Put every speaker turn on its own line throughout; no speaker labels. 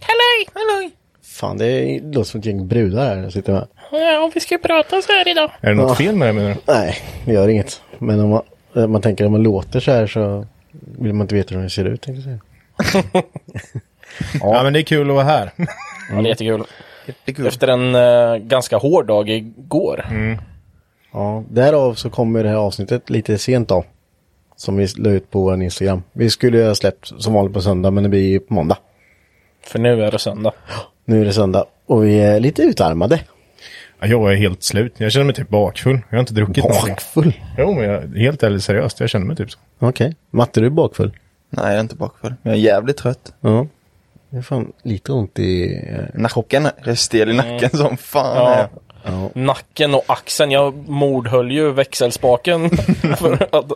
Halloj! Halloj!
Fan, det låter som ett gäng brudar här jag sitter med.
Ja, och vi ska prata så här idag.
Är det något fel med det menar du?
Nej, det gör inget. Men om man, eh, man tänker om man låter så här så vill man inte veta hur den ser ut. Tänkte jag säga.
Ja. men det är kul att vara här.
Ja, det är jättekul. Efter en eh, ganska hård dag igår.
Ja, därav så kommer det här avsnittet lite sent då. Som vi la ut på vår Instagram. Vi skulle ju ha släppt som vanligt på söndag men det blir ju på måndag.
För nu är det söndag.
Nu är det söndag och vi är lite utarmade.
Ja, Jag är helt slut. Jag känner mig typ bakfull. Jag har inte druckit någonting.
Bakfull?
Jo, men jag, helt ärligt seriöst. Jag känner mig typ så.
Okej. Matte, du är bakfull?
Nej, jag är inte bakfull. Jag är jävligt trött.
Ja. Det är fan lite ont i... eh,
Nacken är stel i nacken som fan.
Mm. Ja.
är jag.
Nacken och axeln. Jag mordhöll ju växelspaken för att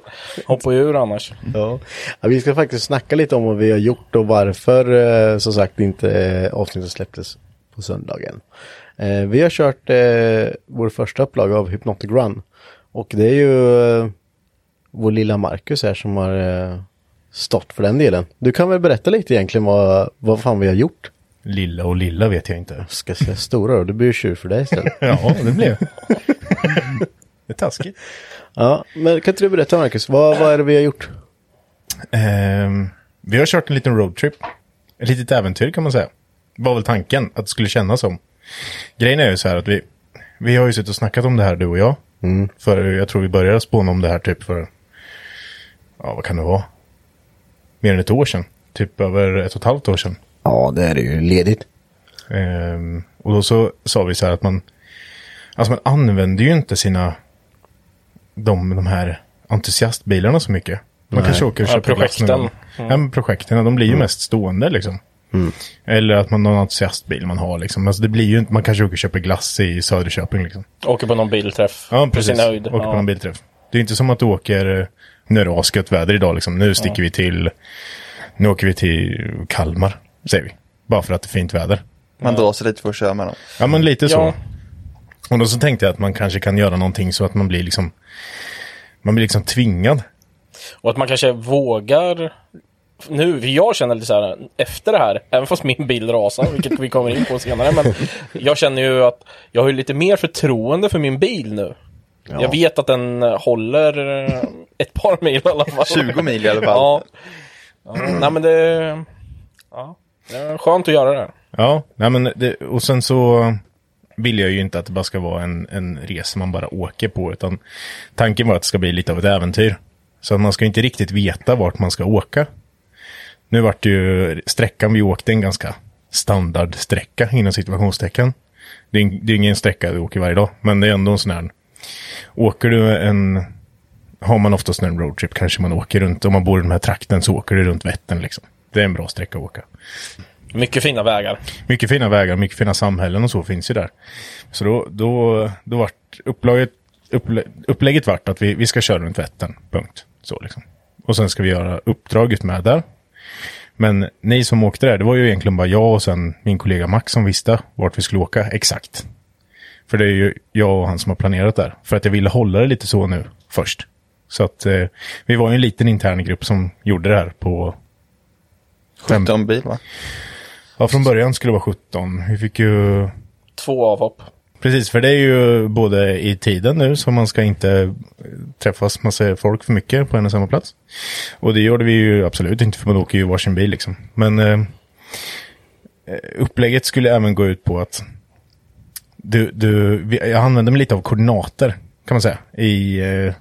hoppa ur annars.
Ja. ja, vi ska faktiskt snacka lite om vad vi har gjort och varför eh, som sagt inte eh, avsnittet släpptes på söndagen. Eh, Vi har kört eh, vår första upplaga av Hypnotic Run och det är ju eh, vår lilla Marcus här som har eh, stått för den delen. Du kan väl berätta lite egentligen vad, vad fan vi har gjort?
Lilla och lilla vet jag inte.
Ska jag säga stora då, det blir ju tjur för dig istället.
Ja, det blev. det är taskigt.
ja, men kan inte du berätta Marcus, vad, vad är det vi har gjort?
Ehm, vi har kört en liten roadtrip. Ett litet äventyr kan man säga. Var väl tanken att det skulle kännas som. Grejen är ju så här att vi, vi har ju suttit och snackat om det här du och jag. För jag tror vi började spåna om det här typ för, ja vad kan det vara? Mer än ett år sedan. Typ över ett och ett halvt år sedan.
Ja, det är det ju ledigt.
Ehm, och då så sa vi så här att man, alltså man använder ju inte sina, de, de här entusiastbilarna så mycket. Man kanske åker och
Ja,
köper glass någon
projekten. Mm.
gång. Ja, men projekten, de blir ju mest stående liksom. Eller att man har en entusiastbil man har liksom. Alltså det blir ju inte, man kanske åker och köper glass i Söderköping liksom.
Åker på någon bilträff.
Ja,
På
precis.
sin höjd.
Åker på
ja.
någon bilträff. Det är inte som att du åker, eh, nu är det asgött väder idag liksom. Nu sticker vi till, nu åker vi till Kalmar, säger vi. Bara för att det är fint väder.
Man drar sig lite för att köra med dem.
Ja, men lite så.
Ja.
Och då så tänkte jag att man kanske kan göra någonting så att man blir liksom man blir liksom tvingad.
Och att man kanske vågar nu, för jag känner lite så här efter det här, även fast min bil rasar, vilket vi kommer in på senare, men jag känner ju att jag har ju lite mer förtroende för min bil nu. Jag vet att den eh, håller eh, ett par mil i alla fall.
20 mil i alla fall.
Ja. ja nej men det... Ja. Det är skönt att göra det.
Ja, nej men det, och sen så vill jag ju inte att det bara ska vara en, en resa man bara åker på, utan tanken var att det ska bli lite av ett äventyr. Så att man ska inte riktigt veta vart man ska åka. Nu vart det ju sträckan vi åkte en ganska standardsträcka inom situationstecken. Det är, det är ingen sträcka du åker varje dag, men det är ändå en sån här Åker du en... Har man oftast en roadtrip kanske man åker runt. Om man bor i den här trakten så åker du runt Vättern liksom. Det är en bra sträcka att åka.
Mycket fina vägar.
Mycket fina vägar, mycket fina samhällen och så finns ju där. Så då, då, då vart upplaget, upplä, upplägget vart att vi, vi ska köra runt Vättern, punkt. Så liksom. Och sen ska vi göra uppdraget med där. Men ni som åkte där, det var ju egentligen bara jag och sen min kollega Max som visste vart vi skulle åka exakt. För det är ju jag och han som har planerat där. För att jag ville hålla det lite så nu först. Så att eh, vi var ju en liten intern grupp som gjorde det här på... fem-
17 bil va?
Ja, från början skulle det vara 17. Vi fick ju
Två avhopp.
Precis, för det är ju både i tiden nu så man ska inte eh, träffas massa folk för mycket på en och samma plats. Och det gjorde vi ju absolut inte för man åker ju varsin bil liksom. Men eh, eh, upplägget skulle även gå ut på att du, du, vi- jag använder mig lite av koordinater kan man säga i, eh,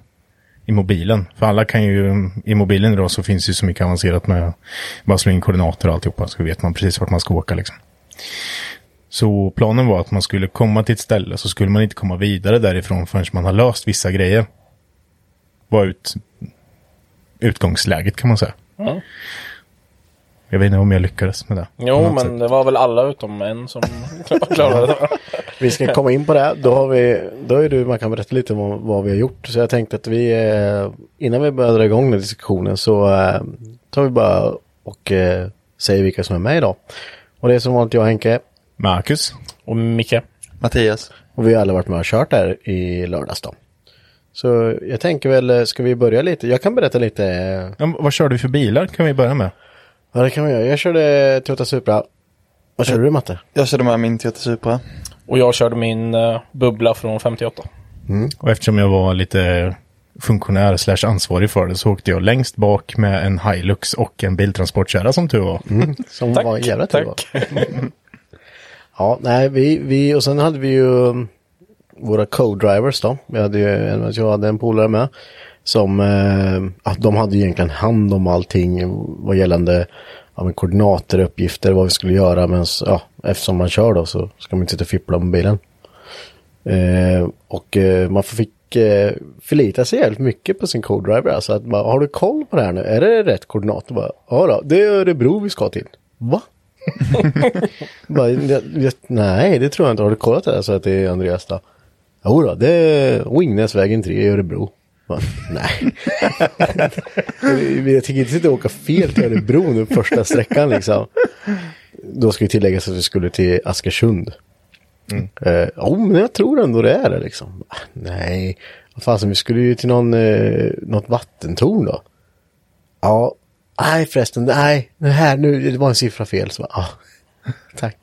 i mobilen. För alla kan ju, i mobilen idag så finns ju så mycket avancerat med bara slå in koordinater och alltihopa så vet man precis vart man ska åka liksom. Så planen var att man skulle komma till ett ställe så skulle man inte komma vidare därifrån förrän man har löst vissa grejer. Var ut, utgångsläget kan man säga. Jag vet inte om jag lyckades med det.
Jo,
På något
men
sätt.
det var väl alla utom en som klarade det.
Vi ska komma in på det. här. Då har vi, då är du, man kan berätta lite om vad, vad vi har gjort. Så jag tänkte att vi, eh, innan vi börjar dra igång den här diskussionen så eh, tar vi bara och eh, säger vilka som är med idag. Och det är som vanligt jag och Henke.
Marcus?
Och Micke.
Mattias.
Och vi har alla varit med och kört där i lördags då. Så jag tänker väl, eh, ska vi börja lite? Jag kan berätta lite. eh,
Ja, men vad körde vi för bilar kan vi börja med?
Ja, det kan vi göra. Jag körde Toyota Supra. Vad körde du Matte?
Jag körde med min Toyota Supra.
Och jag körde min eh, bubbla från 58.
Och eftersom jag var lite funktionär slash ansvarig för det så åkte jag längst bak med en Hilux och en biltransportkärra som tur var.
Som
Tack,
var en jävla tur
tack.
var. Ja, nej, vi, vi, och sen hade vi ju um, våra co-drivers då. Vi hade ju, en- jag hade en polare med. Som, eh, att de hade ju egentligen hand om allting vad gällande ja, men koordinater, uppgifter, vad vi skulle göra. Men s- ja, eftersom man kör då så ska man inte sitta och fippla med bilen. Eh, och eh, man fick eh, förlita sig jävligt mycket på sin co-driver. Alltså att bara, har du koll på det här nu? Är det rätt koordinat? Och Bara, ja då, det är Örebro vi ska till. Va? bara, jag, jag, nej, det tror jag inte. Har du kollat det här så att det är Andreas då? Jo då, det är Wingnäsvägen 3 i Örebro. Bara, nej. jag tänker inte sitta och åka fel till Örebro nu första sträckan liksom. Då ska ju tilläggas att vi skulle till Askersund. Eh, oh, men jag tror ändå det är det liksom. Ah, nej, vad fasen, vi skulle ju till någon, eh, något vattentorn då. Ja, nej förresten, nej, det här nu, det var en siffra fel. Så, bara, ah, tack.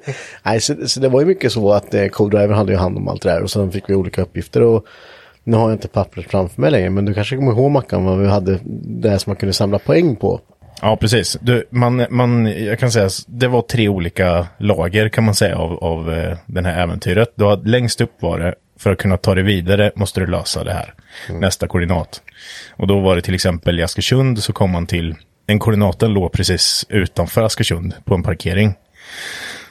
nej, så, så det var ju mycket så att eh, co-driver hade ju hand om allt det där och sen fick vi olika uppgifter och nu har jag inte pappret framför mig längre, men du kanske kommer ihåg Mackan vad vi hade, det här som man kunde samla poäng på.
Ja, precis. Du, man, man, jag kan säga s- det var tre olika lager kan man säga av, av eh, den här äventyret. Du hade, längst upp var det, för att kunna ta dig vidare måste du lösa det här. Nästa koordinat. Och då var det till exempel i Askersund så kom man till, den koordinaten låg precis utanför Askersund på en parkering.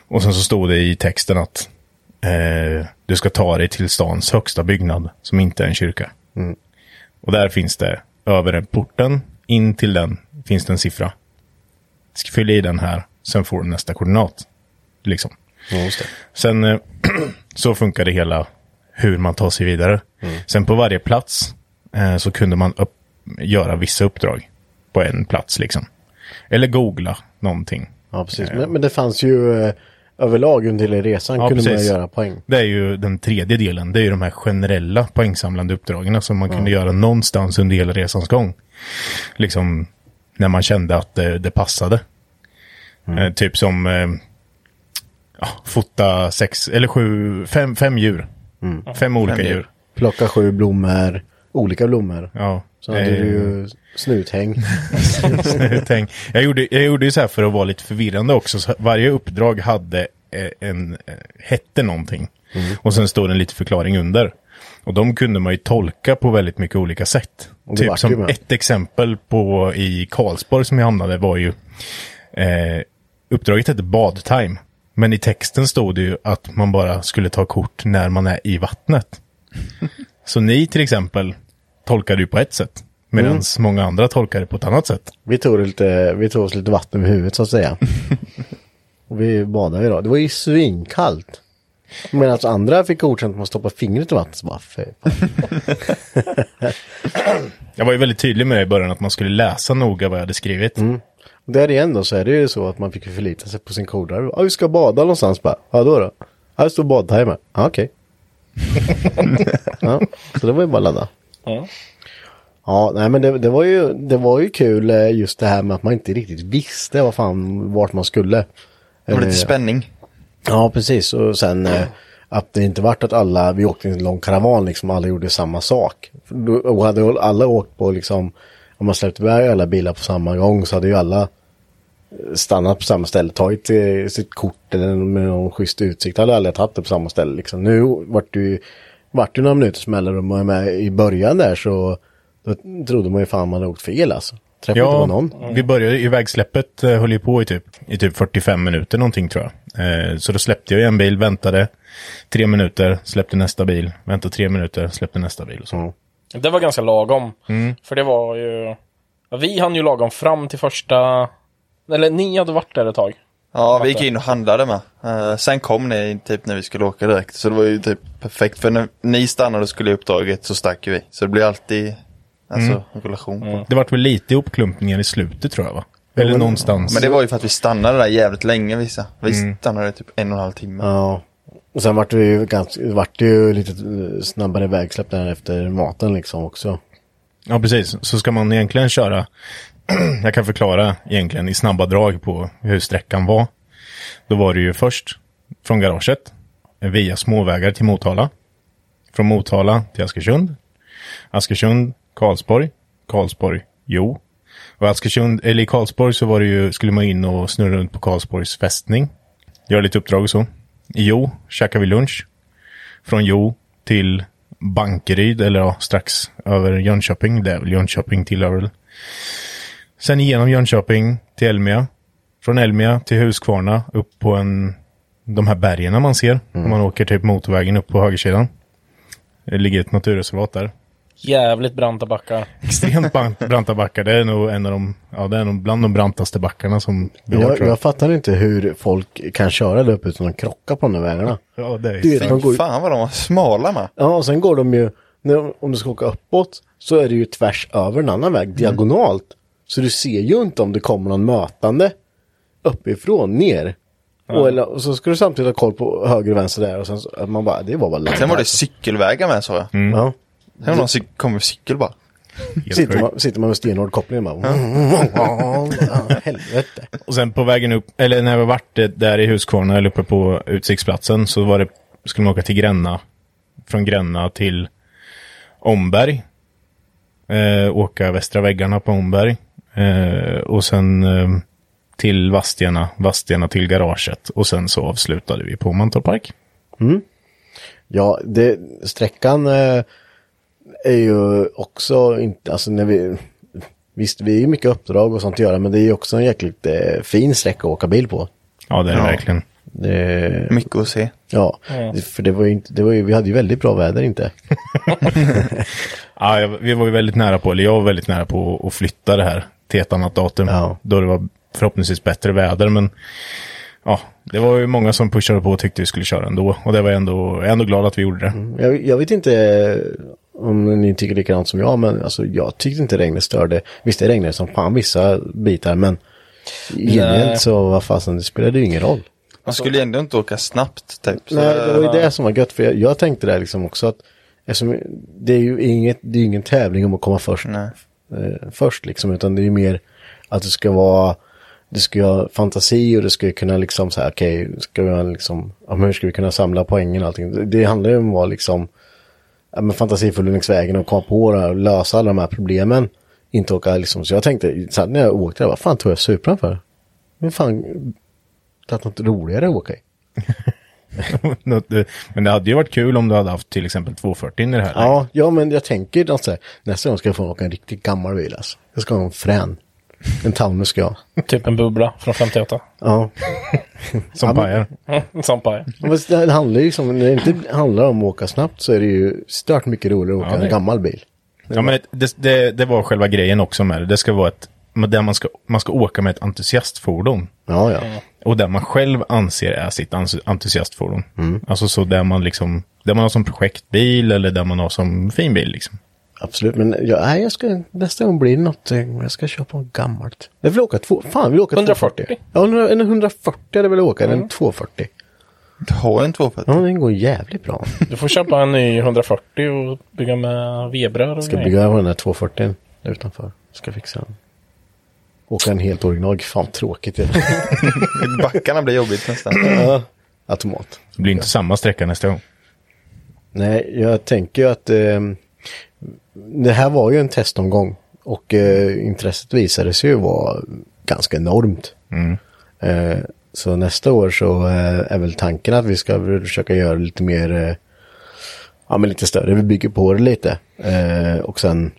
Och sen så stod det i texten att eh, du ska ta dig till stans högsta byggnad som inte är en kyrka. Och där finns det, över den porten, in till den, finns det en siffra. Ska fylla i den här, sen får du nästa koordinat. Liksom.
Ja, just det.
Sen eh, så funkade hela hur man tar sig vidare.
Mm.
Sen på varje plats eh, så kunde man upp, göra vissa uppdrag på en plats liksom. Eller googla någonting.
Ja, precis. Men, men det fanns ju eh, överlag under hela resan
Ja,
kunde
precis.
man göra poäng.
Det är ju den tredje delen. Det är ju de här generella poängsamlande uppdragen som man kunde göra någonstans under hela resans gång. Liksom när man kände att det, det passade.
Mm.
Eh, typ som eh, ja, fota sex eller sju, fem, fem djur.
Mm.
Fem olika
Fem djur.
djur.
Plocka sju blommor, olika blommor.
Ja.
Så hade
Eh,
du ju snuthäng.
Tänk, jag, gjorde, jag gjorde ju så här för att vara lite förvirrande också. Så varje uppdrag hade eh, en, eh, hette någonting.
Mm.
Och sen stod det en liten förklaring under. Och de kunde man ju tolka på väldigt mycket olika sätt.
Och det
Typ
vart ju
som
med.
ett exempel på i Karlsborg som jag hamnade var ju eh, uppdraget hette badtime. Men i texten stod det ju att man bara skulle ta kort när man är i vattnet. Så ni till exempel tolkar det ju på ett sätt. Medan
Mm.
många andra tolkar det på ett annat sätt.
Vi tog, det lite, vi tog oss lite vatten över huvudet så att säga. och vi badade idag. Det var ju svinkallt. Medan andra fick godkänt att man stoppar fingret i vattnet. Så bara, för-
Jag var ju väldigt tydlig med det i början att man skulle läsa noga vad jag hade skrivit.
Mm.
Och Där igen då så är det ju så att man fick ju förlita sig på sin kodare. Ja, vi ska bada någonstans bara. Ja, då då? Ja, det står badtimer. Ja, okej. ja, så det var ju bara att ladda.
Ja.
Ja, nej men det, det, var ju, det var ju kul eh, just det här med att man inte riktigt visste vad fan, vart man skulle.
Det var
Eh,
lite spänning.
Ja, precis. Och sen eh, att det inte vart att alla, vi åkte i en lång karavan, liksom alla gjorde samma sak. För då- Och hade alla åkt på liksom, om man släppte iväg alla bilar på samma gång så hade ju alla eh, stannat på samma ställe, tagit eh, sitt kort eller med någon schysst utsikt, hade alla tagit det på samma ställe liksom. Nu vart det ju, vart det några minuters mellanrum och med i början där så då trodde man ju fan man hade åkt fel alltså. Träffade inte på någon.
vi började i vägsläppet, eh, höll ju på i typ, i typ 45 minuter någonting tror jag. Eh, så då släppte jag en bil, väntade tre minuter, släppte nästa bil, väntade tre minuter, släppte nästa bil. och Så.
Mm.
Det var ganska lagom. För det var ju... ja, Vi hann ju lagom fram till första... Eller ni hade varit där ett tag.
Ja, vi gick in och handlade med. Eh, sen kom ni typ när vi skulle åka direkt. Så det var ju typ perfekt. För när ni stannade och skulle i uppdraget så stack ju vi. Så det blir alltid alltså,
Mm.
relation. På.
Det vart väl lite ihopklumpningar i slutet tror jag va? Eller någonstans.
Men det var ju för att vi stannade där jävligt länge vissa. Vi
Mm.
stannade typ en och en halv timme.
Ja. Och sen vart det ju, ganska, vart det ju lite eh, snabbare vägsläpp där efter maten liksom också.
Ja, precis. Så ska man egentligen köra, jag kan förklara egentligen i snabba drag på hur sträckan var. Då var det ju först från garaget, via småvägar till Motala. Från Motala till Askersund. Askersund, Karlsborg, Karlsborg, Jo. Och Askersund, eller i Karlsborg så var det ju, skulle man in och snurra runt på Karlsborgs fästning. Göra lite uppdrag och så. I Jo käkade vi lunch. Från Jo till Bankeryd, eller ja, strax över Jönköping. Det är väl Jönköping tillhör väl. Sen igenom Jönköping till Elmia. Från Elmia till Huskvarna upp på en, de här bergen man ser.
Mm.
Om man åker typ motorvägen upp på högersidan. Det ligger ett naturreservat där.
Jävligt branta backar.
Extremt ban- branta backar. Det är nog en av de, ja det är nog bland de brantaste backarna som vi har
Jag,
tror jag.
jag fattar inte hur folk kan köra där uppe utan att krocka på de där vägarna.
Ja, det är
Du
ju
vet, de går, ju-
Fan vad de var smala med.
ja, och sen går de ju, när, om du ska åka uppåt, så är det ju tvärs över en annan väg, diagonalt. Så du ser ju inte om det kommer någon mötande uppifrån, ner. Och, eller, och så ska du samtidigt ha koll på höger och vänster där och sen så, att man bara, det var bara
Sen var det
laggat.
cykelvägar med sa jag.
Ja.
Sen var det någon som kom med cykel bara.
helt
Sitter
sjukt.
man, sitter man med stenhård koppling bara. Ja, Helvete.
Och sen på vägen upp, eller när vi vart eh, där i Huskvarna eller uppe på utsiktsplatsen så var det, skulle man åka till Gränna. Från Gränna till Omberg. Eh, åka västra väggarna på Omberg. Eh, och sen eh, till Vastena, Vastena till garaget. Och sen så avslutade vi på Mantorp Park.
Ja, det, sträckan eh, är ju också inte, alltså när vi, visst vi är ju mycket uppdrag och sånt att göra men det är ju också en jäkligt eh, fin sträcka att åka bil på.
Ja, det är det
Ja.
verkligen.
Det,
Mycket att se.
ja, för det var ju inte, det var ju, vi hade ju väldigt bra väder inte.
Ja, jag, vi var ju väldigt nära på, eller jag var väldigt nära på att flytta det här till ett annat datum.
Ja.
Då det var förhoppningsvis bättre väder, men ja, det var ju många som pushade på och tyckte vi skulle köra ändå. Och det var jag ändå, jag är ändå glad att vi gjorde det.
Jag, jag vet inte eh, om ni tycker likadant som jag men alltså jag tyckte inte regnet störde. Visst det regnade som fan vissa bitar men egentligen
Nej.
så vad fasen det spelade ju ingen roll.
Man skulle ju ändå inte åka snabbt typ. Så
Nej, det var ju det som var gött. För jag, jag tänkte det liksom också att eftersom det är ju inget, det är ju ingen tävling om att komma först.
Nej.
Eh, först liksom, utan det är ju mer att det ska vara, det ska ha fantasi och det ska kunna liksom så här, okej, ska vi ha liksom, ja, men hur ska vi kunna samla poängen och allting. Det, det handlar ju om att vara liksom, ja, men fantasifull längs vägen och komma på det här och lösa alla de här problemen. Inte åka liksom, så jag tänkte, så här, när jag åkte där, vad fan tog jag Supran för? Men fan, tagit något roligare att åka i.
Något, eh, men det hade ju varit kul om du hade haft till exempel 240 i det här. läget.
Ja, ja men jag tänker alltså, nästa gång ska jag få åka en riktigt gammal bil alltså. Jag ska ha en frän. En Taunus ska jag ha.
Typ en bubbla från 58.
Ja.
Som
Ja, men-
pajar.
En sån paj.
Men det handlar ju som, när det inte handlar om att åka snabbt så är det ju stört mycket roligare att åka
Ja, det-
en gammal bil.
Ja, men ett- det, det, det var själva grejen också med det. Det ska vara ett, men där man ska, man ska åka med ett entusiastfordon.
Ja, ja.
Och där man själv anser är sitt ans- entusiastfordon.
Mm.
Alltså så där man liksom, där man har som projektbil eller där man har som fin bil liksom.
Absolut, men jag, nej, jag ska, nästa gång blir det något, eh, jag ska köpa något gammalt. Jag vill åka två, fan jag vill åka
140.
240. Ja, en- en 140 hade jag velat åka, en 240.
Du har en 240.
Ja, den går jävligt bra.
Du får köpa en ny 140 och bygga med vedbröd och
Ska
grejer.
bygga på den här 240 där utanför. Ska fixa den. Åka en helt original, fan tråkigt. det är.
Backarna blir jobbigt nästan.
Automat.
Det blir inte samma sträcka nästa gång.
Nej, jag tänker ju att eh, det här var ju en testomgång och eh, intresset visade sig ju vara ganska enormt. Eh, så nästa år så eh, är väl tanken att vi ska väl försöka göra lite mer, eh, ja men lite större, vi bygger på det lite. Eh, och sen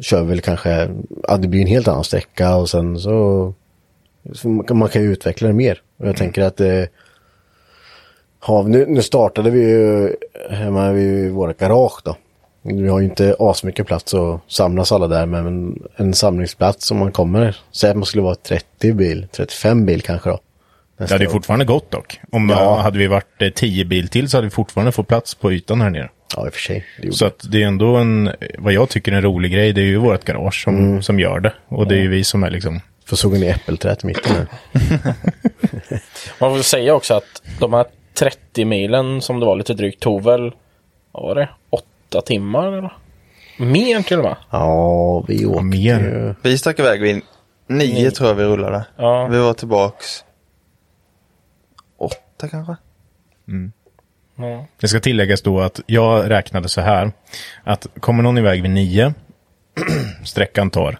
kör vi väl kanske, ja det blir en helt annan sträcka och sen så, så man, kan, man kan ju utveckla det mer. Och jag tänker att eh, Ja, nu, nu startade vi ju hemma vid våra garage då. Vi har ju inte asmycket plats att samlas alla där men en, en samlingsplats om man kommer. Säg att man skulle vara 30 bil, 35 bil kanske då.
Det hade ju fortfarande gått dock. Om
Ja.
hade vi varit eh, tio bil till så hade vi fortfarande fått plats på ytan här nere.
Ja i och för sig. Det gjorde
Så att det är ändå en, vad jag tycker är en rolig grej, det är ju vårt garage som,
Mm.
som gör det. Och det är ju vi som är liksom,
För såg ni äppelträdet i mitten där?
Man får säga också att de här 30 milen som det var lite drygt tog väl, vad var det, åtta timmar eller? Mer till och med.
Ja, vi åkte
mer.
ju.
Vi stack iväg vid nio tror jag vi rullade.
Ja.
Vi var tillbaks åtta kanske.
Det ska tilläggas då att jag räknade så här. Att kommer någon iväg vid nio, sträckan tar,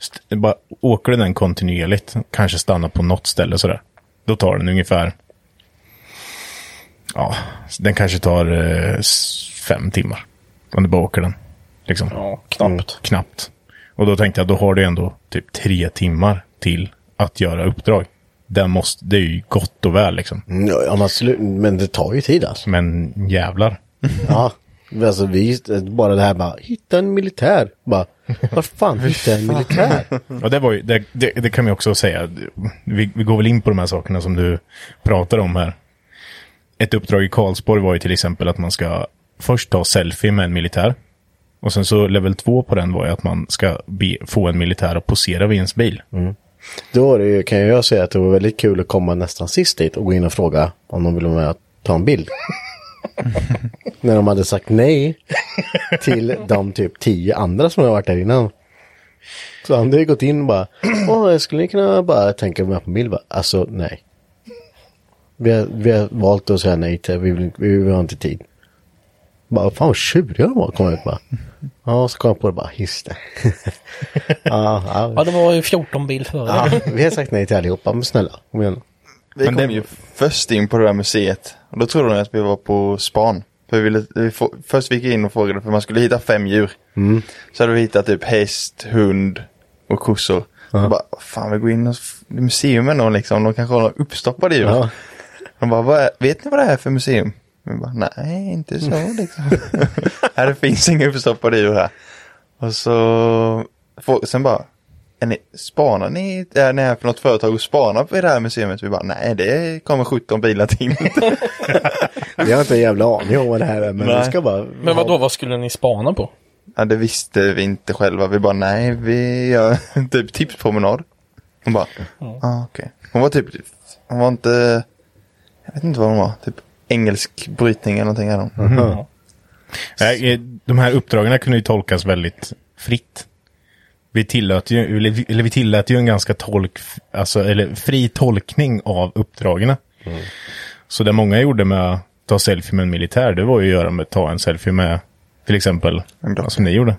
st- bara åker du den kontinuerligt, kanske stannar på något ställe sådär. Då tar den ungefär, ja, den kanske tar eh, s- fem timmar. Om du bara åker den. Liksom.
Ja, knappt.
knappt. Och då tänkte jag, då har du ändå typ tre timmar till att göra uppdrag. Det, måste, det är ju gott och väl liksom.
Mm, Ja, men absolut, men det tar ju tid alltså.
Men jävlar.
Ja, alltså vi, bara det här bara, hitta en militär. Bara, vad fan, hitta en militär?
Mm. Ja, det, var ju, det, det, det kan vi också säga. Vi, vi går väl in på de här sakerna som du pratar om här. Ett uppdrag i Karlsborg var ju till exempel att man ska först ta selfie med en militär. Och sen så level två på den var ju att man ska be, få en militär att posera vid ens bil.
Då var det, ju- kan jag säga att det var väldigt kul att komma nästan sist dit och gå in och fråga om de ville vara med och ta en bild. När de hade sagt nej till de typ tio andra som har varit där innan. Så han hade ju gått in och bara, åh, skulle ni kunna bara tänka mig på en bild? Bara, Alltså nej. Vi har, vi har valt att säga nej till, vi, vill, inte- vi har inte tid. Bara, fan vad tjuriga de var, kom ut bara. Ja, så kom jag på det bara, just det. ja, ja,
Ja, det var ju 14 bil förr.
Ja, vi har sagt nej till allihopa, men snälla, kom igen.
Vi
Men
kom
det-
ju först in på det där museet. Och då trodde de att vi var på span. För vi ville, vi få, först gick vi in och frågade för man skulle hitta fem djur. Så hade vi hittat typ häst, hund och kossor. Och bara, fan vi går in och f- i museum med någon liksom. De kanske har några uppstoppade djur.
Ja.
De bara, vad är, vet ni vad det här är för museum? Vi bara, nej inte så liksom. här det finns inga uppstoppade djur här. Och så, få- Alltså, sen bara, är ni, spanar ni, är ni här för något företag och spanar på det här museet? Vi bara, nej det kommer 17 bilar till.
Vi har inte en jävla aning om vad det här är, men
Nej.
vi ska bara...
Men vad då vad skulle ni spana på?
ja, det visste vi inte själva, vi bara, nej vi gör typ tipspromenad. Hon bara, ja ah, okej. Hon var typ, hon var inte, jag vet inte vad hon var, typ engelsk brytning eller någonting. Här hon.
Nej, eh, De här uppdragen kunde ju tolkas väldigt fritt. Vi tillät ju, eller vi- eller vi tillät ju en ganska tolk, alltså, eller fri tolkning av uppdragen. Så det många gjorde med att ta selfie med en militär, det var ju att göra med att ta en selfie med till exempel,
En docka.
ja, som ni gjorde,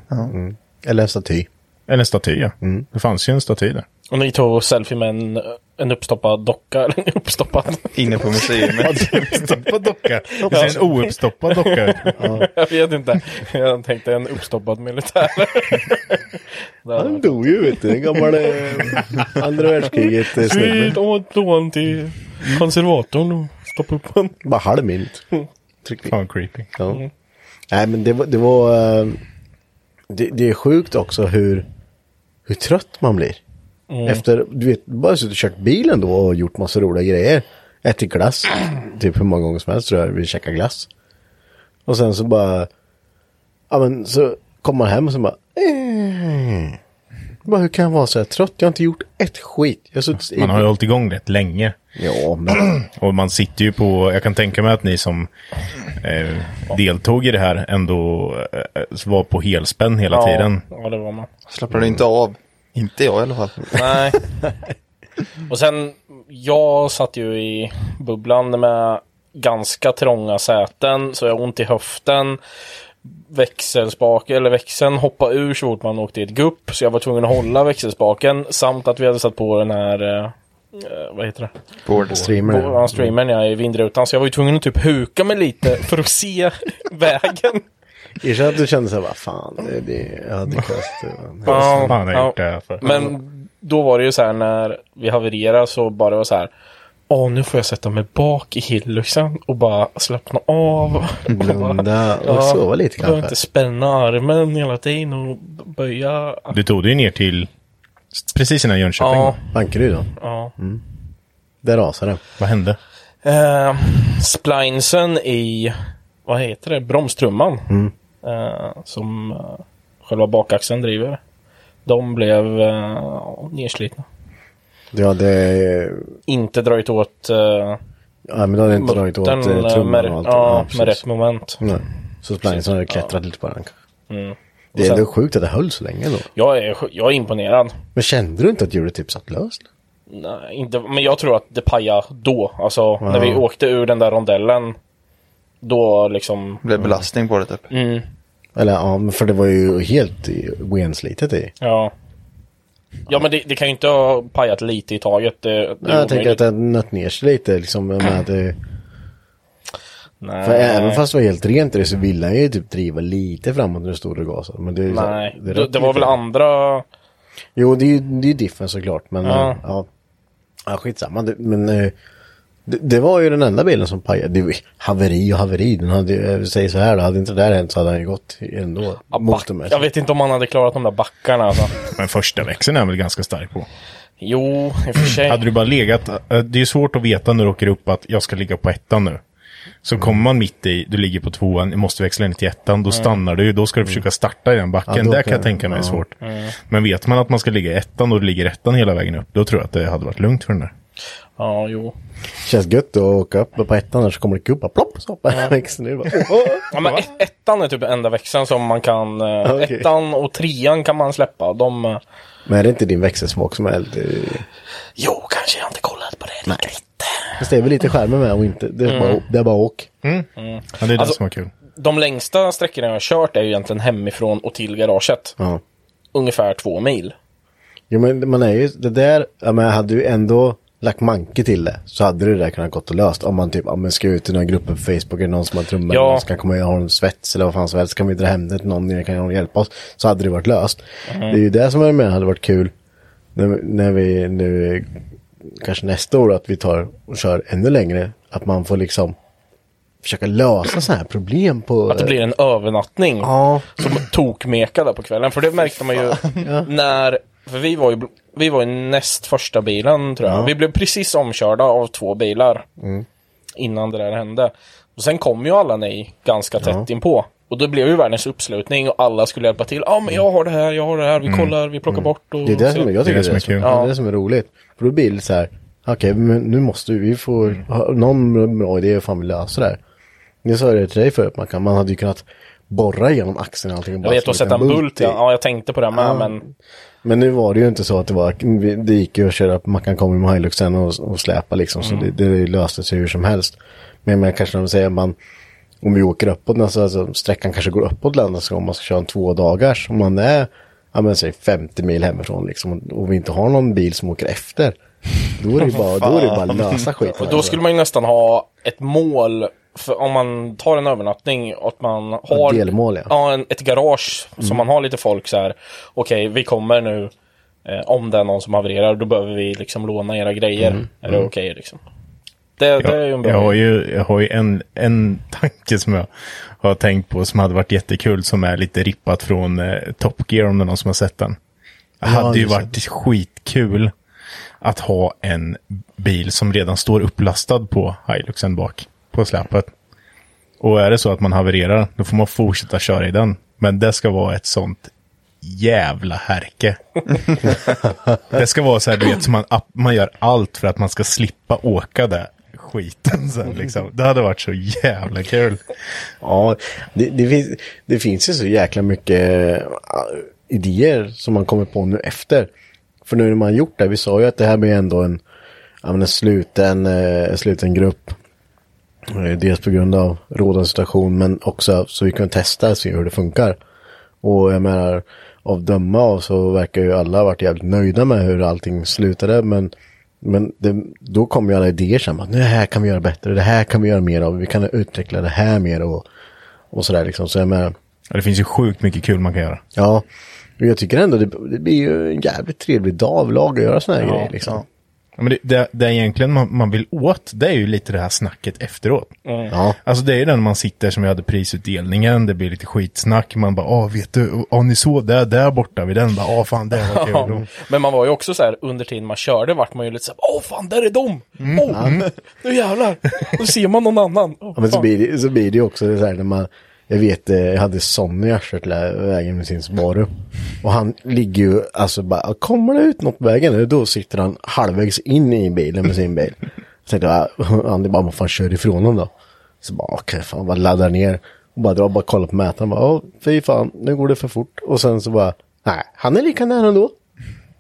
Eller en staty.
eller en staty. Ja. Det fanns ju en staty där.
Och ni tog selfie med en, en uppstoppad docka. Eller en uppstoppad.
Inne på
Ja,
museet.
det är en uppstoppad docka. Det ser en ouppstoppad docka ut.
Jag vet inte. Jag tänkte en uppstoppad militär. Där var
Han
det.
dog ju vet du, den gamla andra världskriget eh, snubben.
Slut åt lån till konservatorn och stoppa upp honom.
Bara halv minut. Tryck
Fan creepy.
Ja. Nej men det var, det var eh, det, det är sjukt också hur, hur trött man blir. Efter, du vet, bara suttit och kört bilen då och gjort massa roliga grejer. Ätit glass, typ hur många gånger som helst tror jag, vi käkar glass. Och sen så bara, ja men så kommer man hem och så bara, eh. bara hur kan jag vara så här trött? Jag har inte gjort ett skit. Jag har suttit i-
Man har ju hållit igång rätt länge.
Ja, men
Och man sitter ju på, jag kan tänka mig att ni som eh, deltog i det här ändå eh, var på helspänn hela tiden.
Ja, det var man.
Slappnar du inte av? Inte jag i alla fall.
Nej. Och sen, jag satt ju i bubblan med ganska trånga säten, så jag har ont i höften. Växelspak, eller växeln hoppade ur så fort man åkte i ett gupp, så jag var tvungen att hålla växelspaken. Samt att vi hade satt på den här, eh, eh, vad heter det?
Bård.
streamer.
På streamern, ja, i vindrutan. Så jag var ju tvungen att typ huka mig lite för att se vägen.
Erkänn att du kände så här, vad fan, det, det, jag hade kunnat...
Vad fan har jag
ja.
gjort det här för?
Men
Mm.
då var det ju så här när vi havererade så bara var så här. Åh, nu får jag sätta mig bak i Hilluxen och bara slappna av. Och bara,
Blunda och sova Mm. lite
behöver
kanske.
inte spänna armen hela tiden och böja.
Du tog dig ju ner till precis innan Jönköping.
Ja,
Bankeryd då?
ja.
Där rasade det.
Vad hände?
Eh, splinesen i, vad heter det, bromstrumman.
Mm.
Eh, som eh, själva bakaxeln driver. De blev eh, nedslitna.
Du hade... eh,
Inte dragit åt eh,
Ja, men du hade inte dragit åt eh,
Muttern,
trumman
med,
och allt.
ja,
precis. Mm.
med rätt moment.
Nej. Så Splinesen hade klättrat lite på den. Det är
Och sen-
ändå sjukt att det höll så länge då.
Jag är, sj- jag är imponerad.
Men kände du inte att hjulet typ satt löst?
Nej, inte, men jag tror att det pajade då. Alltså när vi åkte ur den där rondellen. Då liksom.
Blev belastning på det typ.
Eller ja, men för det var ju helt i- oenslitet i.
Ja. Ja men det, det kan ju inte ha pajat lite i taget. Det, det är
Ja, jag tänker
omöjligt.
att det nött ner sig lite liksom. Med att, det-
Nej.
för även fast det var helt rent i det så ville han ju typ driva lite framåt när du stod och gasade. Men det, är ju så-
Nej, det, det,
räcker
var
inte.
väl andra...
Jo, det är ju det är diffen såklart, men
Ja.
ja. Ja, ja skitsamma. Det, men eh, det, det var ju den enda bilen som pajade. Det var haveri och haveri. Den hade, ju- jag säger så här, då, hade inte det där hänt så hade han ju gått ändå.
Ja,
mot
back,
dem.
jag vet inte om man hade klarat de där backarna alltså.
Men första växeln är jag väl ganska stark på.
Jo, i och för sig.
Hade du bara legat, eh, det är ju svårt att veta när du åker upp att jag ska ligga på ettan nu. Så kommer man mitt i, du ligger på tvåan, du måste växla in till ettan,
Mm.
då stannar du, då ska du försöka starta i den
Ja,
backen.
då
Där
kan-
kan jag tänka mig är
ja.
svårt.
Mm.
Men vet man att man ska ligga i ettan och du ligger i ettan hela vägen upp, då tror jag att det hade varit lugnt för den där.
Ja, jo.
Känns gött att åka upp på ettan där så kommer det gubbar, plopp, så hoppar ja. växeln ur. Bara,
Ja, men ett, ettan är typ enda växeln som man kan... eh,
Okej.
Ettan och trean kan man släppa. De... eh,
Men är det inte din växelsmak som är lite...
Jo, kanske jag inte kollat på det riktigt.
Fast det är väl lite skärmen med och inte... Det är,
Mm.
bara, det är bara åk.
Ja, det är
Alltså-
det som var kul.
De längsta sträckorna jag har kört är ju egentligen hemifrån och till garaget.
Ja.
Ungefär två mil.
Jo men man är ju, det där, ja, men hade du ändå lagt manke till det så hade det där kunnat gått och löst. Om man typ, ja men ska ut i några grupper på Facebook, är det någon som har trummor,
Ja.
någon som kan komma och ha en svets eller vad fan som helst, kan vi dra hem det till någon, eller kan någon hjälpa oss? Så hade det varit löst.
Mm.
Det är ju det som jag menar hade varit kul när, när vi nu, kanske nästa år, att vi tar och kör ännu längre. Att man får liksom försöka lösa sådana här problem på...
Att det blir en övernattning.
Eh. Ja.
Som tokmeka där på kvällen. För det märkte man ju när... För vi var ju, vi var ju näst första bilen tror jag. Vi blev precis omkörda av två bilar.
Mm.
Innan det där hände. Och sen kom ju alla ni ganska tätt inpå. Och det blev ju världens uppslutning och alla skulle hjälpa till. Ja ah, men jag har det här, jag har det här, vi kollar, vi plockar bort och...
Mm. Det är det
ser.
som jag tycker det är det som är,
kul.
det är det som är roligt. För då blir det så här, okej, men nu måste vi, vi få ha någon bra idé hur fan vi löser det här. Jag sa det till dig förut, man, kan, man hade ju kunnat borra igenom axeln och allting. och
Jag
bara
vet att
slå ut
sätta en bult,
i.
ja. ja jag tänkte på det med men
Men nu var det ju inte så att det var, vi- det gick ju att köra, man kan komma med Hiluxen och, och släpa liksom, så det, det löste sig hur som helst. Men man kanske när man säger man, om vi åker uppåt, alltså, alltså sträckan kanske går uppåt länderna så om man ska köra en två dagars, om man är, ja men säg 50 mil hemifrån liksom, och vi inte har någon bil som åker efter, då är det ju bara, då är det ju bara lösa skiten.
Och då skulle man ju nästan ha ett mål, för om man tar en övernattning, att man har
Ett delmål, ja. Mm.
en, ett garage som man har lite folk så här, okej vi kommer nu, eh, om det är någon som havererar, då behöver vi liksom låna era grejer.
Mm.
Är det okej liksom? Det, det är ju en
Jag,
bra
jag har
idé.
ju, jag har ju en, en tanke som jag har tänkt på som hade varit jättekul som är lite rippat från eh, Top Gear om det är någon som har sett den. Det hade ju
just det.
varit skitkul att ha en bil som redan står upplastad på Hiluxen bak på släpet. Och är det så att man havererar, då får man fortsätta köra i den. Men det ska vara ett sånt jävla härke. det ska vara så här, du vet, så man, app- man gör allt för att man ska slippa åka där skiten sen liksom. Det hade varit så jävla kul.
Ja, det, det, finns, det finns ju så jäkla mycket äh, idéer som man kommer på nu efter. För nu när man gjort det, vi sa ju att det här blir ändå en, ja, men en sluten, eh, sluten grupp. Eh, Dels på grund av rådande situation men också så vi kan testa och se hur det funkar. Och jag menar, av döma av så verkar ju alla ha varit jävligt nöjda med hur allting slutade. Men, men det, då kom ju alla idéer sen. Att, "Nu, det här kan vi göra bättre, det här kan vi göra mer av, vi kan utveckla det här mer och, och sådär liksom. Så jag menar,
Ja, det finns ju sjukt mycket kul man kan göra.
ja. men Jag tycker ändå det, det blir ju en jävligt trevlig dag av lag att göra sådana här grejer liksom.
Ja, men det, det, det är egentligen man, man vill åt, det är ju lite det här snacket efteråt.
Ja.
Alltså det är ju den man sitter som jag hade prisutdelningen, det blir lite skitsnack, man bara, ah vet du, ah ni såg det där borta vid den, bara, ah fan det var
Ja.
kul.
Men man var ju också så här under tiden man körde vart man ju lite så här, åh fan där är de!
Mm.
Åh, nu jävlar! Nu ser man någon annan. Åh,
Ja, men så
fan.
blir, det, så blir det ju också så här när man, jag vet, eh, jag hade Sonny i arslet vägen med sin Subaru. Och han ligger ju, alltså bara, kommer det ut något på vägen nu, då sitter han halvvägs in i bilen med sin bil. Så tänkte jag, "Ah, han det är bara, vad fan kör ifrån honom då? Så bara, okej, fan, bara laddar ner. Och bara drar, bara kollar på mätaren, bara, åh, fy fan, nu går det för fort. Och sen så bara, nej, han är lika nära ändå.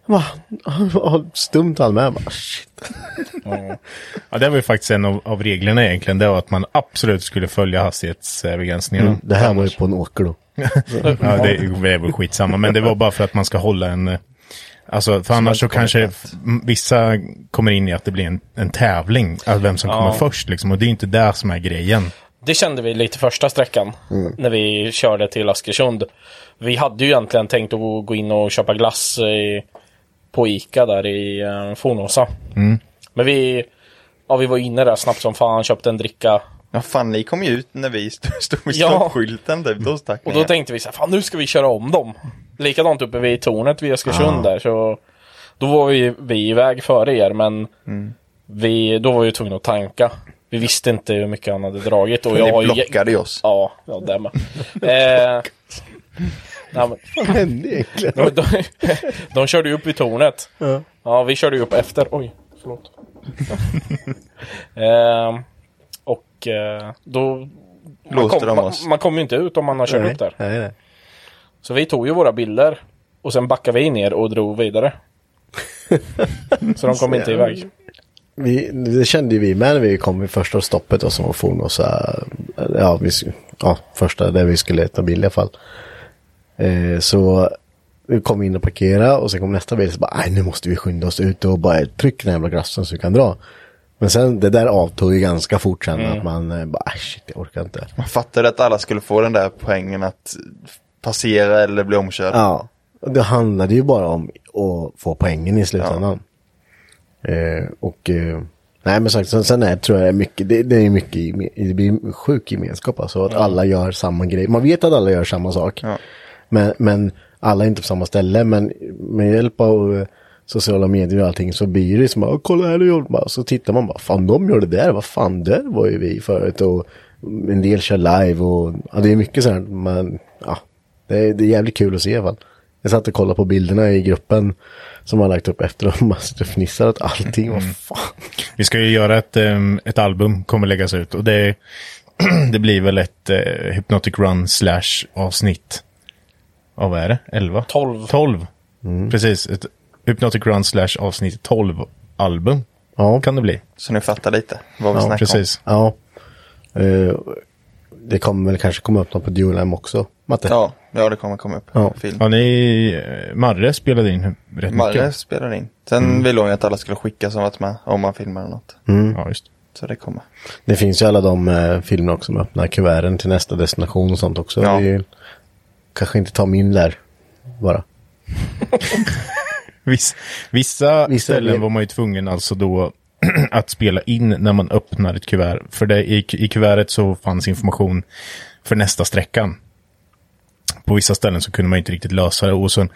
Bara, Han var stumt han med, bara, shit.
Ja, det var ju faktiskt en av, av reglerna egentligen, det var att man absolut skulle följa hastighetsbegränsningarna.
Det här var ju
alltså.
på en åker då.
Ja, det, det är väl skitsamma, men det var bara för att man ska hålla en... eh, Alltså, för annars så kanske m- vissa kommer in i att det blir en, en tävling, alltså vem som kommer först liksom, och det är inte det som är grejen.
Det kände vi lite första sträckan
Mm.
när vi körde till Askersund. Vi hade ju egentligen tänkt att gå- gå in och köpa glass i, på Ica där i eh, Fornåsa.
Mm.
Men vi, ja, vi var inne där snabbt som fan, köpte en dricka.
Ja, fan, ni kom ju ut när vi st- stod vid
Ja.
stoppskylten typ. Då stack
Och
ni.
då tänkte vi så här, fan nu ska vi köra om dem. Likadant uppe vid tornet vid Askersund
Ah.
där. Så då var vi, vi iväg före er men
Mm.
vi, då var vi tvungna att tanka. Vi visste inte hur mycket han hade dragit. Och jag har
Ni
ju-
blockade ju oss.
Ja, ja det med. eh, nej, men,
Vad hände egentligen?
de, de, de körde ju upp vid tornet. Ja. vi körde ju upp efter. Oj, förlåt. eh, och eh, då... Man
Låste
kom,
de
man,
oss?
man kommer ju inte ut om man har kört upp där.
Nej, nej.
Så vi tog ju våra bilder och sen backade vi ner och drog vidare. så de kom inte iväg.
vi, det kände ju vi med när vi kom i första stoppet och som var Fornosa. Ja, vi, sk- ja, första där vi skulle ta bil i alla fall. Eh, så vi kom in och parkera och sen kom nästa bil så bara, nej nu måste vi skynda oss ut och bara tryck den här jävla glassen så vi kan dra. Men sen det där avtog ju ganska fort sen att man eh, bara, "Ah, shit jag orkar inte.
Man fattade att alla skulle få den där poängen att passera eller bli omkörd.
Ja, och det handlade ju bara om att få poängen i slutändan. Eh, och eh, nej men sagt, sen, sen är, tror jag det är mycket, det, det är mycket, geme- det blir sjuk gemenskap alltså. Att alla gör samma grej. Man vet att alla gör samma sak. Men, men alla är inte på samma ställe. Men med hjälp av eh, sociala medier och allting så blir det som bara, "Åh, kolla här du gjorde. Bara, Så tittar man bara, fan de gör det där, vad fan där var ju vi förut. Och en del kör live och ja, det är mycket sånt. Men ja, det är, det är jävligt kul att se i alla fall. Jag satt och kollade på bilderna i gruppen som har lagt upp efter och man sitter och fnissar åt allting. Vad fan.
Vi ska ju göra ett, ehm, ett album, kommer läggas ut. Och det, det blir väl ett eh, Hypnotic Run slash avsnitt. Av vad är det? 11?
12.
12. Precis, ett Hypnotic Run slash avsnitt 12 album.
Ja.
Kan det bli.
Så ni fattar lite vad vi
Ja,
snackar
precis.
Ja. Eh, det kommer väl kanske komma upp något på Duolime också, Matte?
om. Ja, Ja, det kommer komma upp.
Ja.
Film.
Ja, ni... eh, Marre spelade in rätt
Marre
mycket. Mm.
spelar in. Sen ville hon ju att alla skulle skicka som varit med, om man filmar eller något.
Ja, just.
Så det kommer.
Det finns ju alla de eh, filmerna också med öppna kuverten till nästa destination och sånt också.
Ja.
Det är ju, kanske inte ta min där bara.
Viss, vissa,
Vissa
ställen
blir-
var man ju tvungen alltså då att spela in när man öppnar ett kuvert. För det, i, i kuvertet så fanns information för nästa sträckan. På vissa ställen så kunde man inte riktigt lösa det. Och sen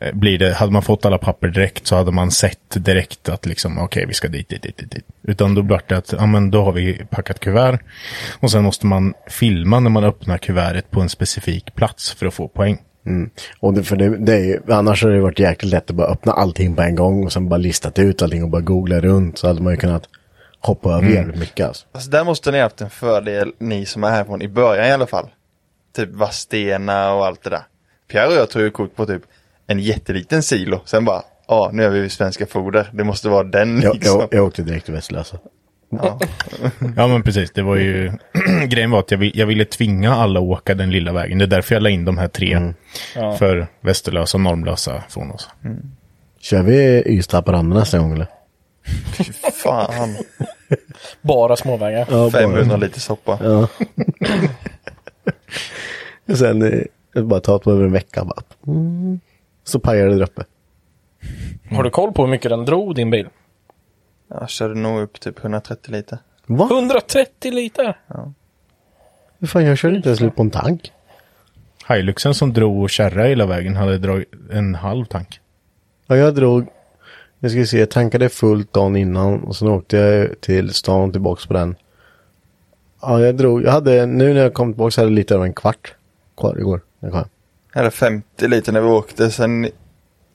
eh, blir det, hade man fått alla papper direkt så hade man sett direkt att liksom okej vi ska dit, dit, dit, dit, dit. Utan då blev det att ja men då har vi packat kuvert. Och sen måste man filma när man öppnar kuvertet på en specifik plats för att få poäng.
Och det, för det, det är, ju- annars hade det varit jäkligt lätt att bara öppna allting på en gång och sen bara listat ut allting och bara googla runt. Så hade man ju kunnat hoppa över jävligt mycket alltså.
Alltså där måste ni ha haft en fördel, ni som är härifrån, i början i alla fall. Typ Vadstena och allt det där. Pierre och jag tog ju kort på typ en jätteliten silo. Sen bara, ja nu är vi vid Svenska Foder. Det måste vara den
Jag,
liksom.
jag, jag åkte direkt till alltså. Västlösa.
Ja men precis, det var ju grejen var att jag, vill, jag ville tvinga alla att åka den lilla vägen. Det är därför jag la in de här tre för Västerlösa och Normlösa från oss.
Kör vi Ystad-Haparanda nästa gång eller?
Fan,
Bara småvägar.
Ja,
500 liter soppa.
Och sen eh, bara ta det över en vecka bara. Mm. Så pajar det där uppe.
Har du koll på hur mycket den drog, din bil?
Jag körde nog upp typ 130 liter.
Va?
130 liter!
Hur fan, jag körde inte ens slut på en tank.
Hiluxen som drog och kärra hela vägen hade dragit en halv tank.
Ja, jag drog, jag ska se, jag tankade fullt dagen innan och sen åkte jag till stan och tillbaks på den. Ja, jag drog, jag hade, nu när jag kom tillbaks hade jag lite över en kvart kvar igår. när Jag kom. hem.
Eller 50 liter när vi åkte. Sen